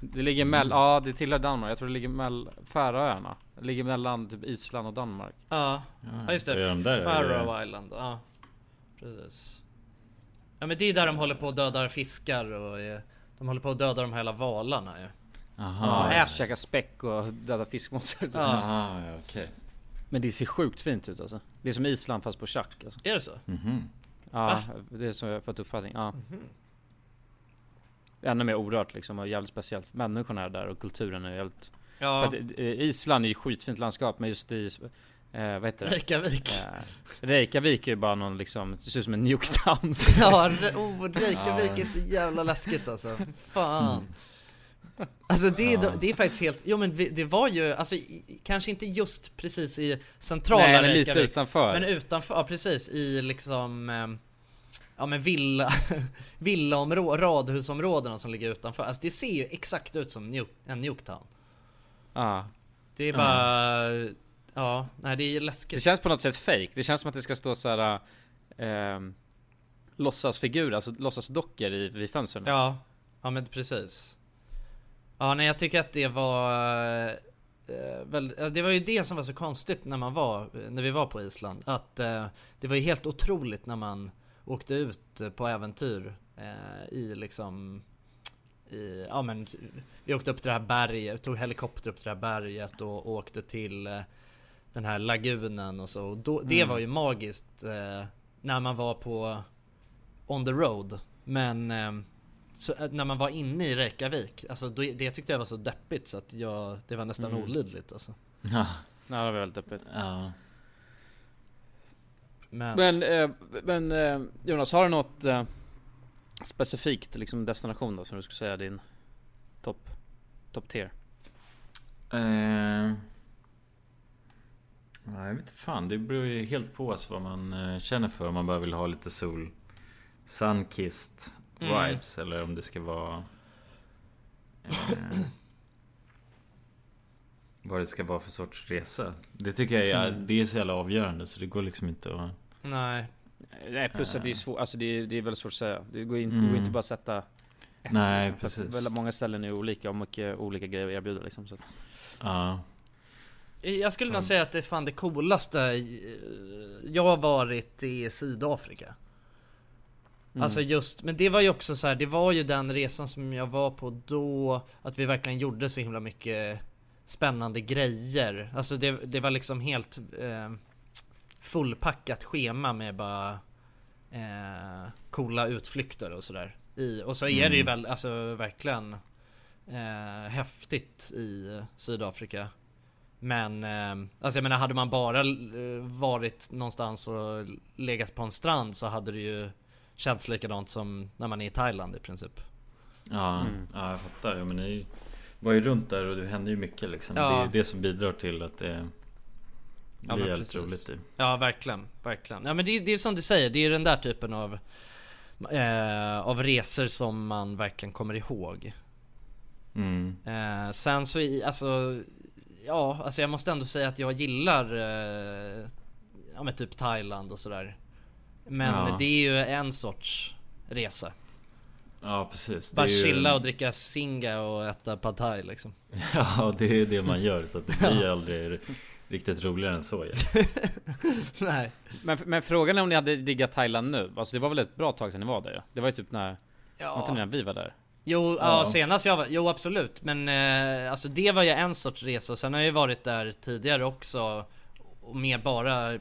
[SPEAKER 1] Det ligger
[SPEAKER 3] Mm.
[SPEAKER 1] mellan, ja det tillhör Danmark, jag tror det ligger mellan Färöarna Det ligger mellan typ Island och Danmark
[SPEAKER 2] Ja, ja just
[SPEAKER 3] vad gör de
[SPEAKER 2] det,
[SPEAKER 3] där?
[SPEAKER 2] Faroe Island, ja Precis Ja men det är där de håller på och dödar fiskar och är, De håller på och dödar de här hela valarna ju
[SPEAKER 3] Aha,
[SPEAKER 1] ja, Käka späck och döda fiskmåsar
[SPEAKER 2] Ja.
[SPEAKER 3] aha ja, okej.
[SPEAKER 2] Mm.
[SPEAKER 1] Men det ser sjukt fint ut alltså Det är som Island fast på tjack alltså.
[SPEAKER 2] Är det så?
[SPEAKER 1] Ja, det är som jag har fått uppfattning. Ja.
[SPEAKER 2] Mhm.
[SPEAKER 1] Ännu mer orört liksom och jävligt speciellt. Människorna är där och kulturen är jävligt...
[SPEAKER 2] Ja.
[SPEAKER 1] För att, eh, Island är ju skitfint landskap men just i... Eh, vad heter det?
[SPEAKER 2] Reykjavik.
[SPEAKER 1] Eh, Reykjavik är ju bara någon liksom, det ser ut som en Nuketown.
[SPEAKER 2] Ja, Re- oh, Reykjavik är så jävla läskigt alltså. Fan. Alltså det, är- det är faktiskt helt, jo men vi- det var ju, alltså i- kanske inte just precis i centrala
[SPEAKER 1] Nej, men lite
[SPEAKER 2] Reykjavik,
[SPEAKER 1] utanför.
[SPEAKER 2] Men utanför, ja precis i liksom ehm, Ja men villa, villaområden, radhusområdena som ligger utanför. Alltså det ser ju exakt ut som Nuke, en Nuketown.
[SPEAKER 1] Ja.
[SPEAKER 2] Det är bara, ja, nej det är läskigt.
[SPEAKER 1] Det känns på något sätt fake. Det känns som att det ska stå så här... Eh, låtsasfigurer, alltså låtsasdockor i, vid fönstren.
[SPEAKER 2] Ja, ja men precis. Ja, nej jag tycker att det var... eh, Väl, ja, det var ju det som var så konstigt när man var, när vi var på Island. Att eh, det var ju helt otroligt när man åkte ut eh, på äventyr eh, i liksom... I, ja men vi åkte upp till det här berget, tog helikopter upp till det här berget och åkte till eh, den här lagunen och så. Och då, det
[SPEAKER 12] Mm.
[SPEAKER 2] var ju magiskt eh, när man var på on the road. Men ehm, så, eh, när man var inne i Reykjavik, alltså då, det tyckte jag var så deppigt så att jag, det var nästan
[SPEAKER 1] Mm.
[SPEAKER 2] olidligt alltså.
[SPEAKER 1] Ja. Nej, det var väldigt öppet.
[SPEAKER 3] Ja.
[SPEAKER 2] Men,
[SPEAKER 1] Men, eh, men eh, Jonas, har du något eh, specifikt liksom destination då som du skulle säga är din topp top tier?
[SPEAKER 3] Eh, nej, jag vet inte fan, det beror ju helt på alltså, vad man eh, känner för. Om man bara vill ha lite sol. Sunkissed
[SPEAKER 2] Mm.
[SPEAKER 3] vibes. Eller om det ska vara... Eh, vad det ska vara för sorts resa. Det tycker jag är,
[SPEAKER 2] Mm.
[SPEAKER 3] det är så jävla avgörande så det går liksom inte att...
[SPEAKER 2] nej.
[SPEAKER 1] Nej, plus att det är svårt, alltså det är, det är väldigt svårt att säga. Det går inte,
[SPEAKER 3] Mm.
[SPEAKER 1] går inte bara att sätta ett,
[SPEAKER 3] Nej,
[SPEAKER 1] liksom, för att
[SPEAKER 3] precis.
[SPEAKER 1] Väldigt många ställen är olika och mycket olika grejer att erbjuda liksom. Så. att-
[SPEAKER 3] Ja.
[SPEAKER 2] Jag skulle nog säga att det är fan det coolaste eh, jag har varit i Sydafrika. Alltså just, men det var ju också så här, det var ju den resan som jag var på då, att vi verkligen gjorde så himla mycket spännande grejer. Alltså det, det var liksom helt eh, fullpackat schema med bara eh, coola utflykter och sådär. I- Och så är det ju väl, alltså verkligen eh, häftigt i Sydafrika. Men, eh, alltså jag menar hade man bara eh, varit någonstans och legat på en strand så hade det ju känts likadant som när man är i Thailand i princip.
[SPEAKER 3] Ja, ja jag fattar. Ja, men ni var ju runt där och det hände ju mycket liksom.
[SPEAKER 2] Ja.
[SPEAKER 3] Det är ju det som bidrar till att det
[SPEAKER 2] Ja,
[SPEAKER 3] blir
[SPEAKER 2] men
[SPEAKER 3] jävligt
[SPEAKER 2] precis.
[SPEAKER 3] roligt. Typ.
[SPEAKER 2] Ja, verkligen, verkligen. Ja, men det, det är som du säger, det är den där typen av, eh, av resor som man verkligen kommer ihåg.
[SPEAKER 3] Mm.
[SPEAKER 2] Eh, sen så, i, alltså, ja, alltså jag måste ändå säga att jag gillar, eh, ja men typ Thailand och sådär. Men
[SPEAKER 3] Ja.
[SPEAKER 2] det är ju en sorts resa.
[SPEAKER 3] Ja precis. Det
[SPEAKER 2] Bara
[SPEAKER 3] är ju-
[SPEAKER 2] chilla och dricka singa och äta pad thai liksom.
[SPEAKER 3] Ja det är det man gör så att det blir ju aldrig riktigt roligare än så ju.
[SPEAKER 2] Nej.
[SPEAKER 1] Men, men frågan är om ni hade diggat Thailand nu? Alltså det var väl ett bra tag sedan ni var där ja? Det var ju typ när, var inte
[SPEAKER 2] Ja.
[SPEAKER 1] när vi var där?
[SPEAKER 2] Jo, ja.
[SPEAKER 3] Ja.
[SPEAKER 2] senast jag var, jo absolut. Men eh, alltså det var ju en sorts resa och sen har jag ju varit där tidigare också. Och med bara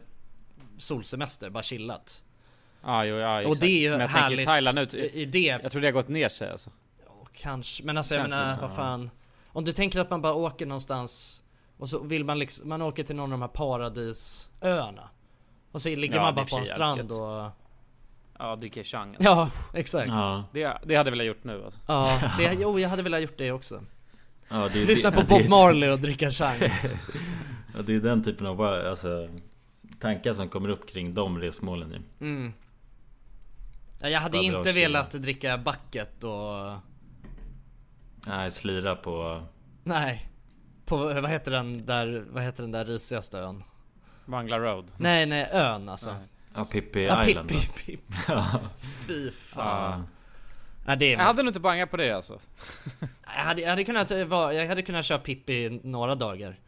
[SPEAKER 2] solsemester, bara chillat.
[SPEAKER 1] Ah, jo, ja,
[SPEAKER 2] och
[SPEAKER 1] exakt.
[SPEAKER 2] det är ju
[SPEAKER 1] Men jag
[SPEAKER 2] härligt
[SPEAKER 1] tänker Thailand ut,
[SPEAKER 2] i i det
[SPEAKER 1] jag tror det har gått ner sig alltså.
[SPEAKER 2] Och Kanske, men alltså jag
[SPEAKER 1] Känns
[SPEAKER 2] menar
[SPEAKER 1] lite så,
[SPEAKER 2] vad
[SPEAKER 1] ja.
[SPEAKER 2] fan Om du tänker att man bara åker någonstans Och så vill man liksom, man åker till någon av de här paradisöarna Och så ligger
[SPEAKER 1] Ja,
[SPEAKER 2] man
[SPEAKER 1] det är
[SPEAKER 2] bara på
[SPEAKER 1] i och för
[SPEAKER 2] en
[SPEAKER 1] sig
[SPEAKER 2] strand
[SPEAKER 1] jävligt gött.
[SPEAKER 2] och
[SPEAKER 1] Ja, dricka chang. alltså.
[SPEAKER 2] Ja, exakt Ja,
[SPEAKER 3] Ja,
[SPEAKER 1] Det, det hade jag velat gjort nu alltså.
[SPEAKER 2] det, jo jag hade velat gjort det också
[SPEAKER 3] ja det är
[SPEAKER 2] Lyssna
[SPEAKER 3] det,
[SPEAKER 2] på
[SPEAKER 3] ja, det är-
[SPEAKER 2] Bob Marley och dricka chang
[SPEAKER 3] Ja, det är den typen av alltså, tankar som kommer upp kring de resmålen ju.
[SPEAKER 2] mm. ja, Jag hade
[SPEAKER 3] Vad bra
[SPEAKER 2] inte
[SPEAKER 3] chili.
[SPEAKER 2] velat dricka bucket och
[SPEAKER 3] Nej, slira på...
[SPEAKER 2] Nej På, vad heter den där, vad heter den där risigaste ön?
[SPEAKER 1] Bangla Road.
[SPEAKER 2] Nej nej, ön alltså
[SPEAKER 3] Ja, Pippi
[SPEAKER 2] Ja,
[SPEAKER 3] Island då.
[SPEAKER 2] Pippi, Pippi. Fy fan. Ja, det är
[SPEAKER 1] Jag hade nog inte bangat på det alltså.
[SPEAKER 2] jag, hade, jag, hade kunnat, vara- jag hade kunnat köra Pippi några dagar.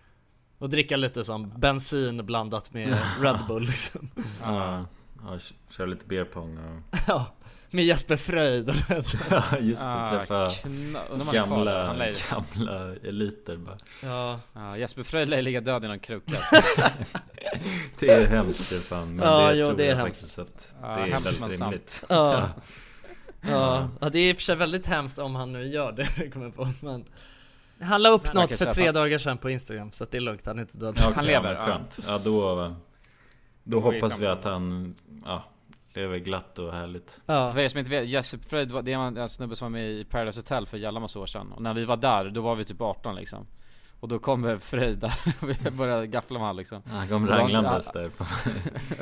[SPEAKER 2] Och dricka lite som bensin blandat med Red Bull liksom.
[SPEAKER 3] Ja, ja, kö- köra lite beer pong och...
[SPEAKER 2] ja. Med Jesper Fröjd
[SPEAKER 3] Ja just det,
[SPEAKER 1] Ah,
[SPEAKER 3] träffa
[SPEAKER 1] kna- undrar om han är kvar där.
[SPEAKER 3] gamla,
[SPEAKER 1] Han lär ju-
[SPEAKER 3] gamla eliter bara
[SPEAKER 2] Ja.
[SPEAKER 1] ja Ah, Jesper Fröjd lär ju ligga död i någon kruka.
[SPEAKER 3] Det är hemskt det är fan men
[SPEAKER 2] Ja,
[SPEAKER 3] det
[SPEAKER 2] jo,
[SPEAKER 3] tror
[SPEAKER 2] det är
[SPEAKER 3] jag
[SPEAKER 2] hemskt.
[SPEAKER 3] faktiskt att
[SPEAKER 1] Ja,
[SPEAKER 3] det är
[SPEAKER 1] hemskt men
[SPEAKER 3] väldigt
[SPEAKER 1] sant.
[SPEAKER 3] rimligt
[SPEAKER 2] Ja. Ja. ja, det är i och för sig väldigt hemskt om han nu gör det, kommer jag på. Men han la upp
[SPEAKER 1] Men-
[SPEAKER 2] något
[SPEAKER 1] Okej,
[SPEAKER 2] för
[SPEAKER 1] så
[SPEAKER 2] tre
[SPEAKER 1] jag-
[SPEAKER 2] dagar sedan på Instagram, så att det är lugnt, han är inte död.
[SPEAKER 3] Ja, okej,
[SPEAKER 1] Han lever,
[SPEAKER 3] men
[SPEAKER 1] ja.
[SPEAKER 3] Skönt. Ja då, då
[SPEAKER 1] Då är
[SPEAKER 3] hoppas vi
[SPEAKER 1] kampen.
[SPEAKER 3] att han ja, lever glatt och härligt
[SPEAKER 2] Ja.
[SPEAKER 1] För er som inte vet, Jesper Fröjd var, det är en en snubbe som var med i Paradise Hotel för jävla massa år sedan. Och när vi var där, då var vi typ 18 liksom. Och då kommer Fröjd där och vi började gaffla med han liksom.
[SPEAKER 3] Han kom
[SPEAKER 1] Och då-
[SPEAKER 3] ranglandes där på-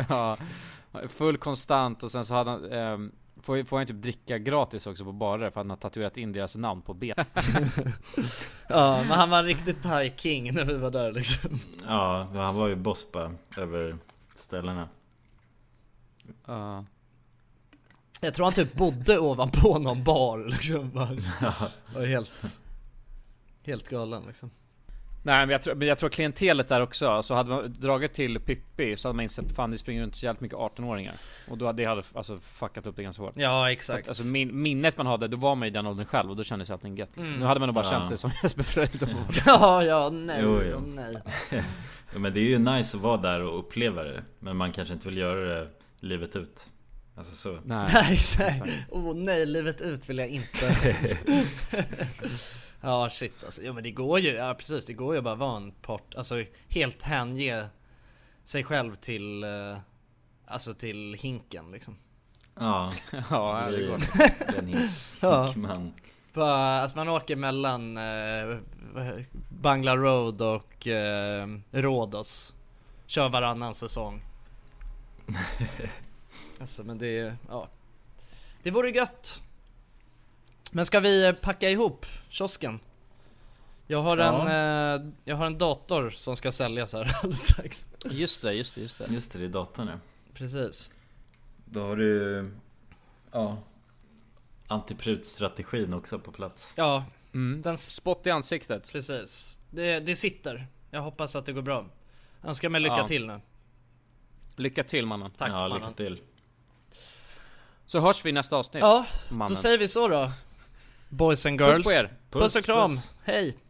[SPEAKER 1] ja, full konstant och sen så hade han, ehm, får, får han typ dricka gratis också på barer för att han har tatuerat in deras namn på benet.
[SPEAKER 2] Ja, men han var en riktig thai-king när vi var där liksom.
[SPEAKER 3] Ja, han var ju boss bara över ställena
[SPEAKER 1] Ja.
[SPEAKER 2] Jag tror han typ bodde ovanpå någon bar liksom. Bara, var helt, helt galen liksom.
[SPEAKER 1] Nej men jag, tror, men jag tror klientelet där också, så hade man dragit till Pippi så hade man insett fan det springer runt så jävligt mycket 18-åringar. Och då hade det hade alltså fuckat upp det ganska hårt.
[SPEAKER 2] Ja,
[SPEAKER 1] För att, Alltså min, minnet man hade, då var man i den åldern själv och då kändes allting gött liksom.
[SPEAKER 2] Mm.
[SPEAKER 1] Nu hade man nog bara
[SPEAKER 3] Ja.
[SPEAKER 1] känt sig som Jesper Fröjd och-
[SPEAKER 2] Ja, ja, nej,
[SPEAKER 3] Jo,
[SPEAKER 2] jo,
[SPEAKER 3] jo.
[SPEAKER 2] nej.
[SPEAKER 3] ja, Men det är ju nice att vara där och uppleva det Men man kanske inte vill göra det livet ut Alltså så
[SPEAKER 1] Nej.
[SPEAKER 2] Nej,
[SPEAKER 1] exakt.
[SPEAKER 2] nej. Åh oh, nej, livet ut vill jag inte. ja, shit alltså. Jo men det går ju, ja precis. Det går ju bara vara en part, alltså helt hänge sig själv till, eh, alltså till hinken liksom.
[SPEAKER 3] Ja,
[SPEAKER 1] Ja, det går.
[SPEAKER 3] Den hink,
[SPEAKER 2] Ja.
[SPEAKER 3] man.
[SPEAKER 2] Bara, alltså man åker mellan eh, Bangla Road och eh, Rhodos. Kör varannan säsong. alltså men det är, ja. Det vore gött. Men ska vi eh, packa ihop kiosken? Jag har,
[SPEAKER 3] Ja.
[SPEAKER 2] en, eh, jag har en dator som ska säljas här alldeles strax.
[SPEAKER 1] Just det, just det, just det.
[SPEAKER 3] Just det, det är datorn ja.
[SPEAKER 2] Precis.
[SPEAKER 3] Då har du Ja Antiprut-strategin också på plats
[SPEAKER 2] Ja,
[SPEAKER 1] Mm. Den spott i ansiktet.
[SPEAKER 2] precis. Det, det sitter. Jag hoppas att det går bra. Önskar mig lycka
[SPEAKER 1] Ja.
[SPEAKER 2] till nu.
[SPEAKER 1] Lycka till mannen.
[SPEAKER 2] Tack
[SPEAKER 3] Ja, lycka
[SPEAKER 2] mannen.
[SPEAKER 3] till
[SPEAKER 1] Så hörs vi i nästa avsnitt.
[SPEAKER 2] Ja,
[SPEAKER 1] mannen.
[SPEAKER 2] Då säger vi så då. Boys and girls.
[SPEAKER 1] Puss på er.
[SPEAKER 2] Puss och kram. Hej.